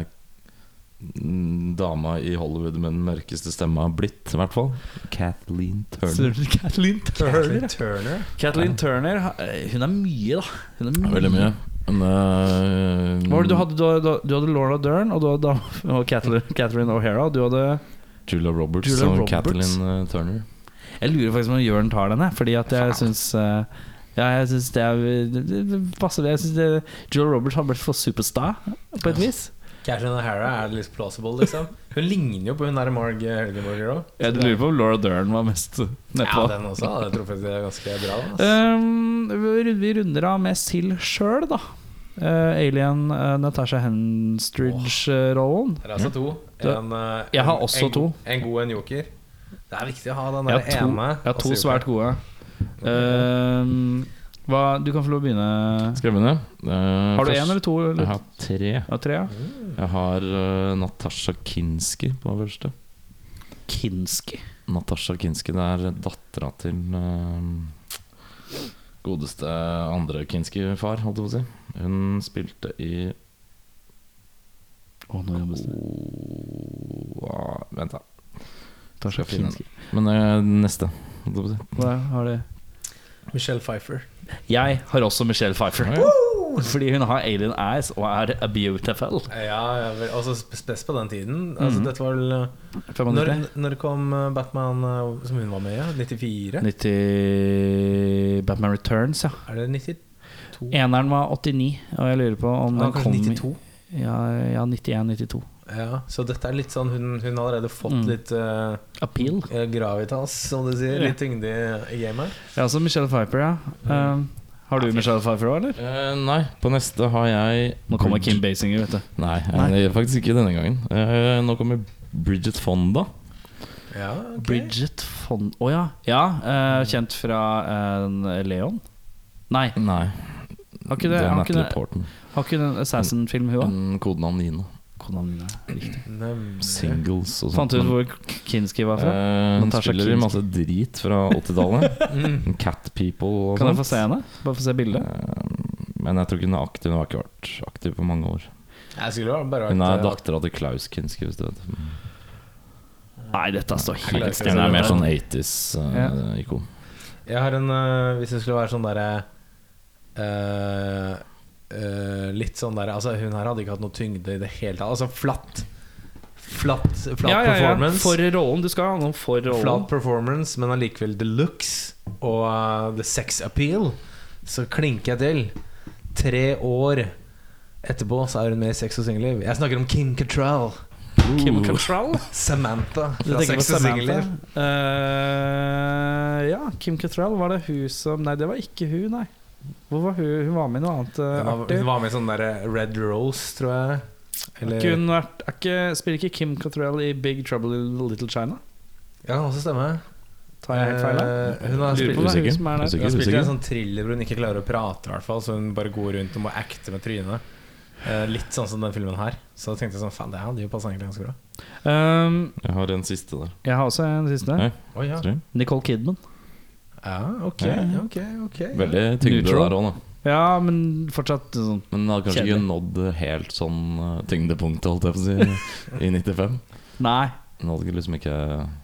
Speaker 5: mm, dama i Hollywood med den mørkeste stemma blitt, i hvert fall. Kathleen Turner.
Speaker 3: Kathleen
Speaker 2: Kathleen Turner.
Speaker 3: Kathleen Turner ha- eh, Hun er mye, da. Hun er
Speaker 5: Veldig mye. Men, eh,
Speaker 3: Hva var det du hadde? Du hadde, du hadde Laura Dern og, du hadde, dam- og Kathleen, Catherine O'Hara. og Du hadde
Speaker 5: Julia Roberts
Speaker 3: Julia
Speaker 5: og
Speaker 3: Roberts.
Speaker 5: Kathleen eh, Turner.
Speaker 3: Jeg lurer faktisk om Jørn tar den, jeg, fordi at jeg syns eh, ja, jeg syns det, er, det, det, det passer det. Jeg synes det Joel Roberts har blitt for superstar, på et vis.
Speaker 2: Catherine O'Hara er litt plausible, liksom. Hun ligner jo på hun der Marg Helgeborger òg.
Speaker 3: Jeg lurer på om Laura Dern var mest
Speaker 2: Ja,
Speaker 3: nedpå.
Speaker 2: den også hadde jeg truffet det er ganske bra. da, ass.
Speaker 3: Um, vi vi runder av med Sild sjøl, da. Eh, Alien, eh, Natasha Henstridge-rollen.
Speaker 2: Det er altså to.
Speaker 3: Det-
Speaker 2: En, eh,
Speaker 3: Jeg har
Speaker 2: en-
Speaker 3: også
Speaker 2: en,
Speaker 3: to.
Speaker 2: go- En god, en joker. Det er viktig å ha den
Speaker 3: Jeg
Speaker 2: der
Speaker 3: har to,
Speaker 2: ene.
Speaker 3: jeg har to
Speaker 2: også joker.
Speaker 3: svært gode. Um, hva, du kan få lov å begynne.
Speaker 5: Skal jeg begynne? Eh,
Speaker 3: Har du
Speaker 5: først-
Speaker 3: én eller to?
Speaker 5: Jeg
Speaker 3: Eller?
Speaker 5: har tre.
Speaker 3: Ja, tre, ja.
Speaker 5: Jeg har eh, Natasha Kinski på første.
Speaker 3: Kinski.
Speaker 5: Natasha Kinski det er dattera til eh, godeste andre Kinski-far, holdt jeg på å si. Hun spilte i
Speaker 3: Å, nå jobbes det.
Speaker 5: oh, Vent, da.
Speaker 3: Natasha
Speaker 5: Skal finne
Speaker 3: Kinski.
Speaker 5: Men eh, neste, holdt jeg på å si.
Speaker 3: Hva har du?
Speaker 2: Michelle Pfeiffer.
Speaker 3: Jeg har også Michelle Pfeiffer. Fordi hun har alien eyes og er a beautiful.
Speaker 2: Ja, jeg vil- altså sp- spes på den tiden. Altså,
Speaker 3: Mhm.
Speaker 2: Dette var vel eh,
Speaker 3: 95.
Speaker 2: når, når kom eh, Batman eh, som hun var med i? ja? 94?
Speaker 3: 90 Batman Returns, ja.
Speaker 2: Er det 92?
Speaker 3: Eneren var 89, og jeg lurer på om
Speaker 2: Ja,
Speaker 3: den kom
Speaker 2: kanskje
Speaker 3: i-
Speaker 2: 92?
Speaker 3: Ja, ja 91-92.
Speaker 2: Ja, så dette er litt sånn Hun, hun har allerede fått
Speaker 3: Mm.
Speaker 2: litt eh,
Speaker 3: Appeal.
Speaker 2: gravitas, som du sier.
Speaker 3: Ja.
Speaker 2: Litt tyngde i- i gamet.
Speaker 3: Ja, altså Michelle Pfeiffer, ja. Um, har du Michelle Pfeiffer òg, eller?
Speaker 5: Eh, nei, på neste har jeg
Speaker 3: Nå kommer Kim Basinger, vet du.
Speaker 5: Nei, eh,
Speaker 3: Nei.
Speaker 5: det gjør faktisk ikke denne gangen. Eh, nå kommer Bridget Fonda.
Speaker 2: Ja, ok.
Speaker 3: Bridget von Å ja. ja eh, kjent fra eh, Leon? Nei,
Speaker 5: Nei,
Speaker 3: har ikke
Speaker 5: det
Speaker 3: det,
Speaker 5: er
Speaker 3: har ikke
Speaker 5: Natalie
Speaker 3: det,
Speaker 5: Portman.
Speaker 3: har ikke det en Assassin-film, hun òg?
Speaker 5: En Kodenavn Nina.
Speaker 2: Nemlig.
Speaker 5: Singles og sånt.
Speaker 3: Fant du ut
Speaker 5: men-
Speaker 3: hvor Kinski var fra?
Speaker 5: Eh, hun
Speaker 3: Natasha
Speaker 5: spiller i
Speaker 3: Kinski.
Speaker 5: masse drit fra 80-tallet.
Speaker 2: Mm.
Speaker 5: Cat People og
Speaker 3: Kan jeg
Speaker 5: sånt.
Speaker 3: få se henne? Bare få se bildet?
Speaker 5: Eh, Men jeg tror ikke hun er aktiv. Hun har ikke vært aktiv på mange år.
Speaker 2: Jeg skulle jo bare vært
Speaker 5: Hun er
Speaker 2: eh,
Speaker 5: dattera til Klaus Kinski, hvis du vet.
Speaker 3: Nei, dette står
Speaker 2: klarer
Speaker 3: helt
Speaker 2: ikke å se
Speaker 5: Hun
Speaker 3: stille.
Speaker 5: er mer
Speaker 2: det.
Speaker 5: sånn 80s-ikon.
Speaker 2: Jeg har en øh, Hvis det skulle være sånn derre øh, øh, Litt sånn derre Altså, hun her hadde ikke hatt noe tyngde i det hele tatt. Altså flatt. Flatt, flatt
Speaker 3: Ja, ja, ja.
Speaker 2: performance.
Speaker 3: For rollen. Du skal ha noe for rollen.
Speaker 2: Flat performance, men allikevel the looks og uh, the sex appeal. Så klinker jeg til. Tre år etterpå så er hun med i Sex og singelliv. Jeg snakker om Kim Cattrall.
Speaker 3: Kim Cattrall?
Speaker 2: Samantha
Speaker 3: Du Uh.
Speaker 2: fra
Speaker 3: tenker på
Speaker 2: Sex og
Speaker 3: Samantha?
Speaker 2: singelliv.
Speaker 3: Eh, ja, Kim Cattrall, var det hun som Nei, det var ikke hun, nei. Hvor var hun? Hun var med i noe annet eh,
Speaker 2: Hun var-
Speaker 3: artig.
Speaker 2: hun var med i sånn derre Red Rose, tror jeg.
Speaker 3: Har ikke hun vært, er ikke, spiller ikke Kim Cattrall i Big Trouble in Little China?
Speaker 2: Ja, kan også stemme.
Speaker 3: Tar jeg helt feil her?
Speaker 2: Eh, hun har
Speaker 3: Lurer
Speaker 2: spilt,
Speaker 3: på om det er
Speaker 5: Usikker.
Speaker 3: hun som er der.
Speaker 5: Usikker.
Speaker 2: hun har spilt i en sånn thriller hvor hun ikke klarer å prate, i hvert fall. Så hun bare går rundt og må acte med trynet. Eh, litt sånn som den filmen her. Så da tenkte jeg sånn Faen, det hadde jo passa egentlig ganske bra.
Speaker 3: Um,
Speaker 5: Jeg har en siste der.
Speaker 3: jeg har også en siste.
Speaker 5: Nei.
Speaker 2: Oi, ja.
Speaker 5: Tror jeg.
Speaker 3: Nicole Kidman.
Speaker 2: ja, ok,
Speaker 5: Ja.
Speaker 2: ok, ok
Speaker 5: Veldig tyngde
Speaker 3: Neutral.
Speaker 5: der òg, da.
Speaker 3: Ja, men fortsatt sånn
Speaker 5: Men den hadde kanskje
Speaker 3: Kjedelig.
Speaker 5: ikke nådd helt sånn eh, tyngdepunktet, holdt jeg på å si, i 95.
Speaker 3: Nei.
Speaker 5: Den hadde ikke liksom ikke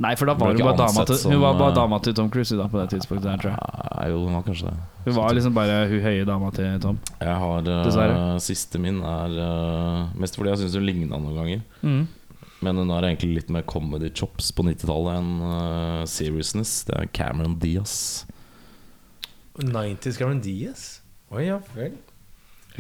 Speaker 3: Nei, for da var
Speaker 5: Ble
Speaker 3: hun
Speaker 5: ikke
Speaker 3: bare dama
Speaker 5: ansett
Speaker 3: til, hun
Speaker 5: som,
Speaker 3: var bare
Speaker 5: eh,
Speaker 3: dama til Tom Cruise da, på det tidspunktet. Der, tror jeg.
Speaker 5: Nei, Jo, den var kanskje det.
Speaker 3: Hun var liksom bare hun høye dama til Tom.
Speaker 5: Jeg har eh,
Speaker 3: Dessverre.
Speaker 5: Siste min er eh, mest fordi jeg syns hun ligna noen ganger.
Speaker 3: Mm.
Speaker 5: Men hun har egentlig litt mer comedy chops på 90-tallet enn eh, seriousness. Det er Cameron Diaz.
Speaker 2: 90s Cameron Diaz? Oi, ja vel.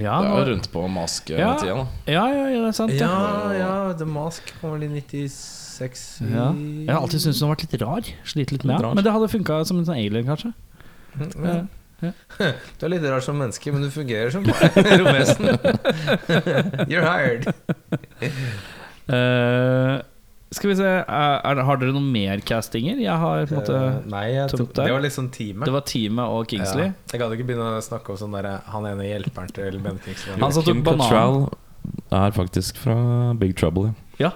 Speaker 3: Ja,
Speaker 5: det er jo
Speaker 3: Ah, nå-
Speaker 5: rundt på masketida,
Speaker 3: Ja.
Speaker 5: da.
Speaker 3: ja, ja, ja, det er sant.
Speaker 2: Ja, ja, The Mask kom vel i 96
Speaker 3: Ja. Jeg har alltid syntes hun har vært litt rar. Slitt litt med
Speaker 5: Litt
Speaker 3: ja.
Speaker 5: rar.
Speaker 3: Men det hadde funka som en sånn alien, kanskje.
Speaker 2: Mm, ja. Du er litt rar som menneske, men du fungerer som romvesen. You're hired.
Speaker 3: Eh, skal vi se er, er, Har dere noen mer castinger? Jeg har på en måte
Speaker 2: Eh, Nei, jeg
Speaker 3: tomt
Speaker 2: tok,
Speaker 3: der.
Speaker 2: det var litt sånn teamet.
Speaker 3: Det var teamet og Kingsley.
Speaker 2: Ja. Jeg gadd ikke begynne å snakke om sånn der, han ene hjelperen til Bente Kingsley.
Speaker 3: Han som tok
Speaker 5: Kim
Speaker 3: banan.
Speaker 5: Cattrall er faktisk fra Big Trouble.
Speaker 2: ja.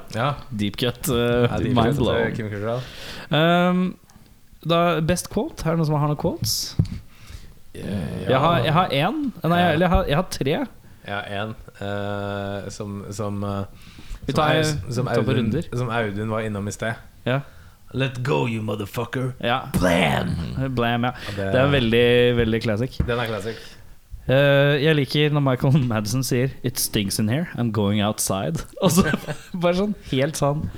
Speaker 3: Deep cut. eh,
Speaker 2: Ja, de
Speaker 3: mind
Speaker 2: vet at det er
Speaker 3: blown.
Speaker 2: Kim Cattrall.
Speaker 3: Um, da, best quote? Er det noen som har noen quotes? Jeg har, jeg har én. Nei, jeg, eller jeg, har, jeg har tre.
Speaker 2: Ja, en eh, som som, eh,
Speaker 3: Vi
Speaker 2: som
Speaker 3: tar-
Speaker 2: Au-
Speaker 3: vi
Speaker 2: som,
Speaker 3: tar på
Speaker 2: Audun,
Speaker 3: runder.
Speaker 2: som Audun var innom i sted.
Speaker 3: Ja.
Speaker 2: Let go, you motherfucker.
Speaker 3: ja. Blam! Blam, ja.
Speaker 2: Ja, det-
Speaker 3: Det er veldig, veldig classic.
Speaker 2: Den er classic.
Speaker 3: Eh, jeg liker når Michael Madsen sier It stinks in here, I'm going outside Og så bare sånn helt sånn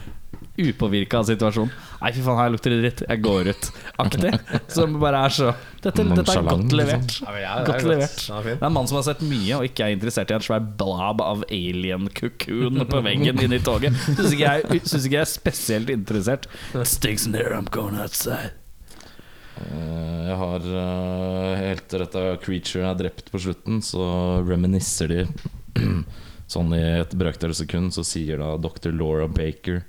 Speaker 3: Upåvirket av situasjonen Nei fy faen her lukter det dritt, jeg går ut Aktig, som bare er så Dette, dette er
Speaker 5: Nonchalant,
Speaker 3: godt levert
Speaker 5: liksom.
Speaker 2: Ja, men ja, det er
Speaker 3: Godt
Speaker 2: godt.
Speaker 3: levert
Speaker 2: Den er fin.
Speaker 3: Det er en mann som har sett mye og ikke er interessert i En svær blab av alien-kukun På veggen inne i toget Synes ikke, jeg, synes ikke jeg er spesielt interessert It stinks in here, I'm going outside
Speaker 5: Eh, Jeg har eh, helt rett av Creature er drept på slutten, så reminisser de Sånn i et brøkdel sekund så sier da dr. Laura Baker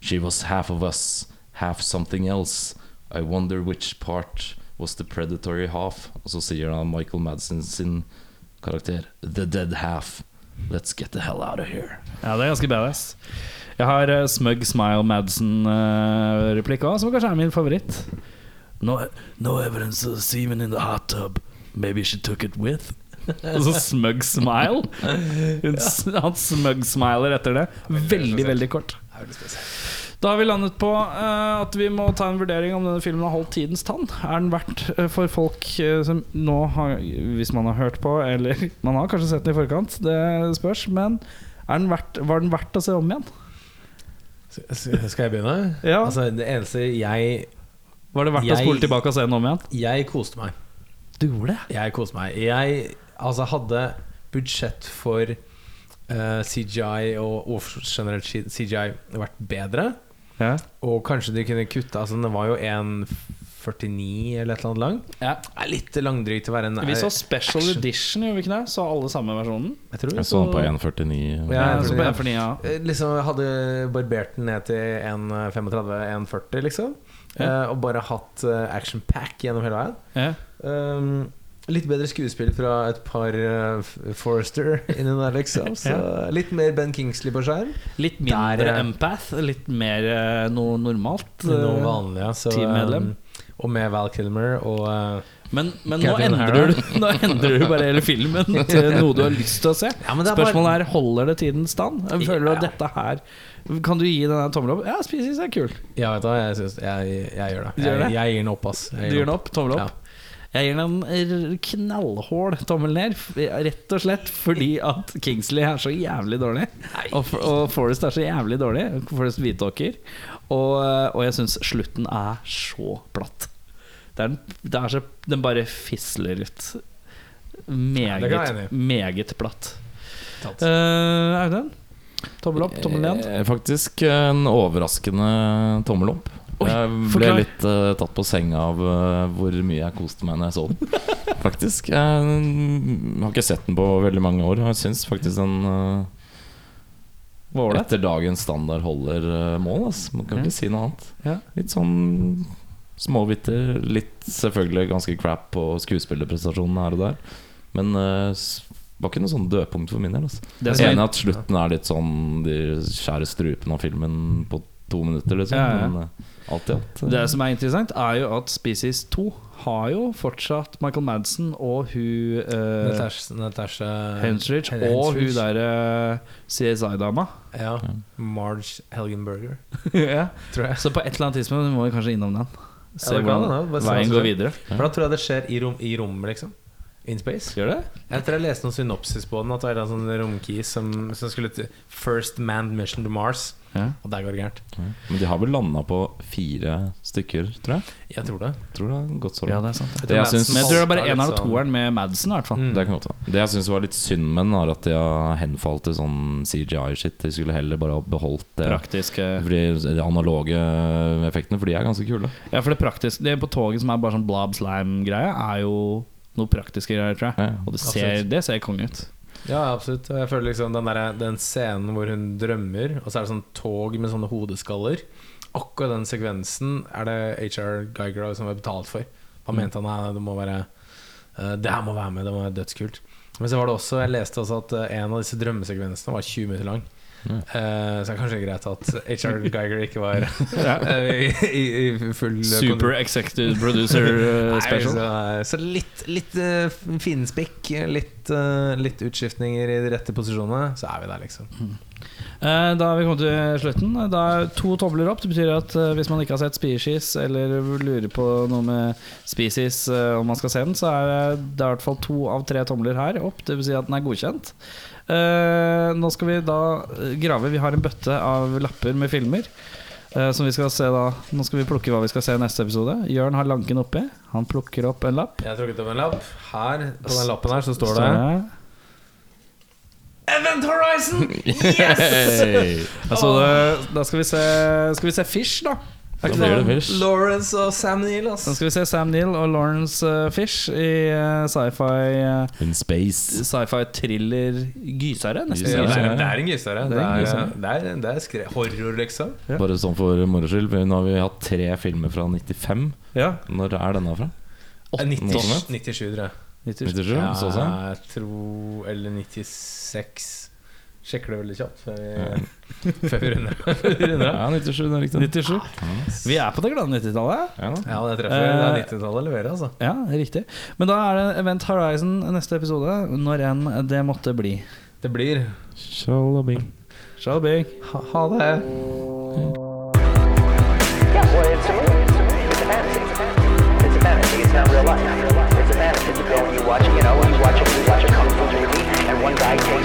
Speaker 5: She was half of us, half something else I wonder which part was the predatory half Og så sier da Michael Madsen sin karakter The dead half Let's get the hell out of here
Speaker 3: Ja, det er ganske badass. Jeg har eh, Smug Smile Madsen-replikk òg, som kanskje er min favoritt. No, no evidence of semen in the hot tub. Maybe she took it with. Og så smug smile. Hun, s- Han smug smiler etter det. Veldig, veldig kort.
Speaker 2: Det er veldig spesielt.
Speaker 3: Da har vi landet på eh, at vi må ta en vurdering om denne filmen har holdt tidens tann. Er den verdt eh, for folk eh, som nå har Hvis man har hørt på, eller man har kanskje sett den i forkant, det spørs. Men er den verdt, var den verdt å se om igjen?
Speaker 2: S- s- Skal jeg begynne?
Speaker 3: Ja.
Speaker 2: Altså, det eneste jeg
Speaker 3: Var det verdt å
Speaker 2: Jeg-
Speaker 3: spole tilbake og se den om igjen?
Speaker 2: Jeg koste meg.
Speaker 3: Du gjorde det?
Speaker 2: Jeg koste meg. Jeg altså, hadde budsjett for eh, CGI og og generelt CGI vært bedre.
Speaker 3: Ja.
Speaker 2: Og kanskje de kunne kutte Altså den var jo 1,49 eller et eller annet lang. Det er litt langdrygt til å være en
Speaker 3: Vi så special edition, gjorde vi ikke det? Så alle samme versjonen?
Speaker 2: Jeg tror vi
Speaker 5: Jeg så den på
Speaker 2: så-
Speaker 5: 1,49
Speaker 2: Ja, jeg
Speaker 3: så på
Speaker 2: tror det.
Speaker 3: en for ni, ja.
Speaker 2: Eh, Liksom jeg hadde barbert den ned til eh, 1,35-1,40, liksom. Eh, og bare hatt eh, action pack gjennom hele veien.
Speaker 3: ja.
Speaker 2: Um, litt bedre skuespill fra et par eh, F- Forrester inni der, liksom. Så litt mer Ben Kingsley på skjerm.
Speaker 3: Litt mindre
Speaker 2: Der, eh,
Speaker 3: empath, litt mer eh, noe normalt. eh,
Speaker 2: Noe vanlig, ja. Så,
Speaker 3: teammedlem.
Speaker 2: um, og med Val Kilmer og eh,
Speaker 3: Men, men nå,
Speaker 2: Catherine
Speaker 3: endrer du, nå endrer du bare hele filmen til noe du har lyst til å se.
Speaker 2: Ja, men det er bare-
Speaker 3: Spørsmålet er holder det tidens stand. Føler du at
Speaker 2: Ja.
Speaker 3: dette her Kan du gi den her tommel opp? Ja, spises er kul.
Speaker 2: Ja, vet du hva, jeg, synes, jeg, jeg gjør det.
Speaker 3: Du gjør
Speaker 2: Jeg,
Speaker 3: det?
Speaker 2: jeg gir den opp, ass.
Speaker 3: Du
Speaker 2: Jeg
Speaker 3: gir den opp? Tommel opp? Jeg gir den en r- knallhål tommel ned, f- rett og slett fordi at Kingsley er så jævlig dårlig. Og, F- og Forrest er så jævlig dårlig. Forrest Hvitåker. Og, eh, og jeg syns slutten er så platt. Det er, den- det er så, den bare fisler ut.
Speaker 2: det kan jeg være
Speaker 3: Meget,
Speaker 2: enig i.
Speaker 3: meget platt.
Speaker 2: Tatt.
Speaker 3: Eh, Audun? Tommel opp, tommel ned?
Speaker 5: Eh, Faktisk en overraskende tommel opp.
Speaker 3: Oi,
Speaker 5: jeg ble
Speaker 3: forklar.
Speaker 5: litt eh, tatt på senga av eh, hvor mye jeg koste meg når jeg så den. Faktisk. Jeg mm, har ikke sett den på veldig mange år, og jeg syns faktisk den eh,
Speaker 3: Var det?
Speaker 5: etter dagens standard holder eh, mål. Ass. Man kan
Speaker 3: Ja.
Speaker 5: ikke si noe annet.
Speaker 3: Ja.
Speaker 5: Litt sånn småbitter. Litt selvfølgelig ganske crap på skuespillerprestasjonene her og der, men eh, s- var ikke noe sånn dødpunkt for min del. Altså.
Speaker 3: Det som
Speaker 5: Jeg er enig at slutten er litt sånn De skjærer strupen av filmen på to minutter, liksom.
Speaker 3: Ja, ja.
Speaker 5: Men eh, alt i alt eh,
Speaker 3: Det som er interessant, er jo at Species 2 har jo fortsatt Michael Madsen og hun uh,
Speaker 2: Natasha, Natasha
Speaker 3: Henstridge
Speaker 2: Hen-
Speaker 3: og hun
Speaker 2: Henstridge.
Speaker 3: der eh, CSI-dama.
Speaker 2: Ja. Marge Helgenberger,
Speaker 3: ja.
Speaker 2: tror jeg.
Speaker 3: Så på et eller annet tidspunkt må vi kanskje innom den. Se
Speaker 2: Ja, det kan
Speaker 3: hvordan
Speaker 2: det, bare se hva
Speaker 3: veien
Speaker 2: som
Speaker 3: går
Speaker 2: skjer.
Speaker 3: videre.
Speaker 2: For da tror jeg det skjer i rom, i rom liksom. In space.
Speaker 3: Gjør det?
Speaker 2: Jeg tror jeg leste noen synopsis på den. At det var en sånn romkis som, som skulle til First manned mission to Mars.
Speaker 3: Ja.
Speaker 2: Og der går det gærent.
Speaker 5: Men de har vel landa på fire stykker, tror jeg.
Speaker 2: Jeg tror det.
Speaker 5: Tror det har gått så
Speaker 3: ja, det er
Speaker 5: langt.
Speaker 3: sant.
Speaker 2: Jeg
Speaker 5: Det jeg
Speaker 2: Madsen
Speaker 5: syns-
Speaker 3: Men jeg tror det er bare
Speaker 2: halter
Speaker 3: en av
Speaker 2: litt sånn.
Speaker 3: toeren med Madsen, i hvert fall.
Speaker 2: Mm.
Speaker 5: Det, kan godt være. det jeg syns var litt synd med den, er at de har henfalt til sånn CGI-shit. De skulle heller bare ha beholdt det.
Speaker 3: Praktisk. eh.
Speaker 5: Fordi de analoge effektene, for de er ganske kule.
Speaker 3: Ja, for det praktiske Det på toget som er bare sånn blob slime-greie, er jo noe praktiske greier, tror jeg.
Speaker 5: Ja.
Speaker 3: Og det ser,
Speaker 2: Absolutt.
Speaker 3: det ser konge ut.
Speaker 2: Ja, absolutt. Og Jeg føler liksom den, der, den scenen hvor hun drømmer, og så er det sånn tog med sånne hodeskaller. Akkurat den sekvensen er det HR Guygrow som er betalt for. Han mente han "Nei, det må være eh, Det her må være med, det må være dødskult. Men så var det også, jeg leste også at eh, en av disse drømmesekvensene var 20 minutter lang. Eh, så det er kanskje greit at HR Geiger ikke var eh, i, i, i full
Speaker 3: Super executive producer eh,
Speaker 2: Nei,
Speaker 3: special.
Speaker 2: Så, så litt, litt eh, finspikk, litt, eh, litt utskiftninger i de rette posisjonene, så er vi der, liksom.
Speaker 3: Eh, Da har vi kommet til slutten. Da er to tobler opp. Det betyr at eh, hvis man ikke har sett Species, eller lurer på noe med Species eh, om man skal se den, så er det, det er i hvert fall to av tre tomler her opp. Det vil si at den er godkjent. Eh, Nå skal vi da eh, grave. Vi har en bøtte av lapper med filmer. eh, Som vi skal se da Nå skal vi plukke hva vi skal se i neste episode. Jørn har lanken oppi. Han plukker opp en lapp.
Speaker 2: Jeg har trukket opp en lapp. Her, på den lappen her, så står det Event Horizon!
Speaker 5: Hey.
Speaker 3: Altså, det, da skal vi se Skal vi se Fish, da? Er
Speaker 5: Da
Speaker 3: ikke
Speaker 5: blir det fish.
Speaker 2: Lawrence og Sam Neill, ass.
Speaker 3: Da skal vi se Sam Neill og Lawrence eh, Fish i eh, sci-fi eh,
Speaker 5: In space.
Speaker 3: Sci-fi thriller gysere, nesten.
Speaker 2: Ja, det,
Speaker 3: Gysere.
Speaker 2: er, det er en gysere.
Speaker 3: Det er
Speaker 2: Det
Speaker 3: en
Speaker 2: er,
Speaker 3: gysere.
Speaker 2: det er, det er skre horror, liksom.
Speaker 3: Ja.
Speaker 5: Bare sånn for moro skyld. for Nå har vi hatt tre filmer fra 95.
Speaker 3: Ja.
Speaker 5: Når er denne fra?
Speaker 2: 90, 97, Eh, tror jeg.
Speaker 5: 97?
Speaker 2: Ja,
Speaker 5: Så sånn.
Speaker 2: jeg tror Eller 96. Sjekker det veldig kjapt før vi, før vi runder.
Speaker 5: Ja, 97, det er riktig.
Speaker 3: 97. Vi er på det glade 90-tallet.
Speaker 5: Ja, da.
Speaker 2: Ja, det treffer. Det er 90-tallet leverer, altså.
Speaker 3: Ja, riktig. Men da er det Event Horizon neste episode, når enn det måtte bli.
Speaker 2: Det blir
Speaker 5: Shalabing.
Speaker 3: Shall be.
Speaker 2: Ha, ha det.
Speaker 4: Yeah, well, it's a movie. It's a movie. It's a fantasy. It's a fantasy. It's not real life. It's a fantasy. You go and you watch, you know, you watch a, you watch a kung fu movie, and one guy takes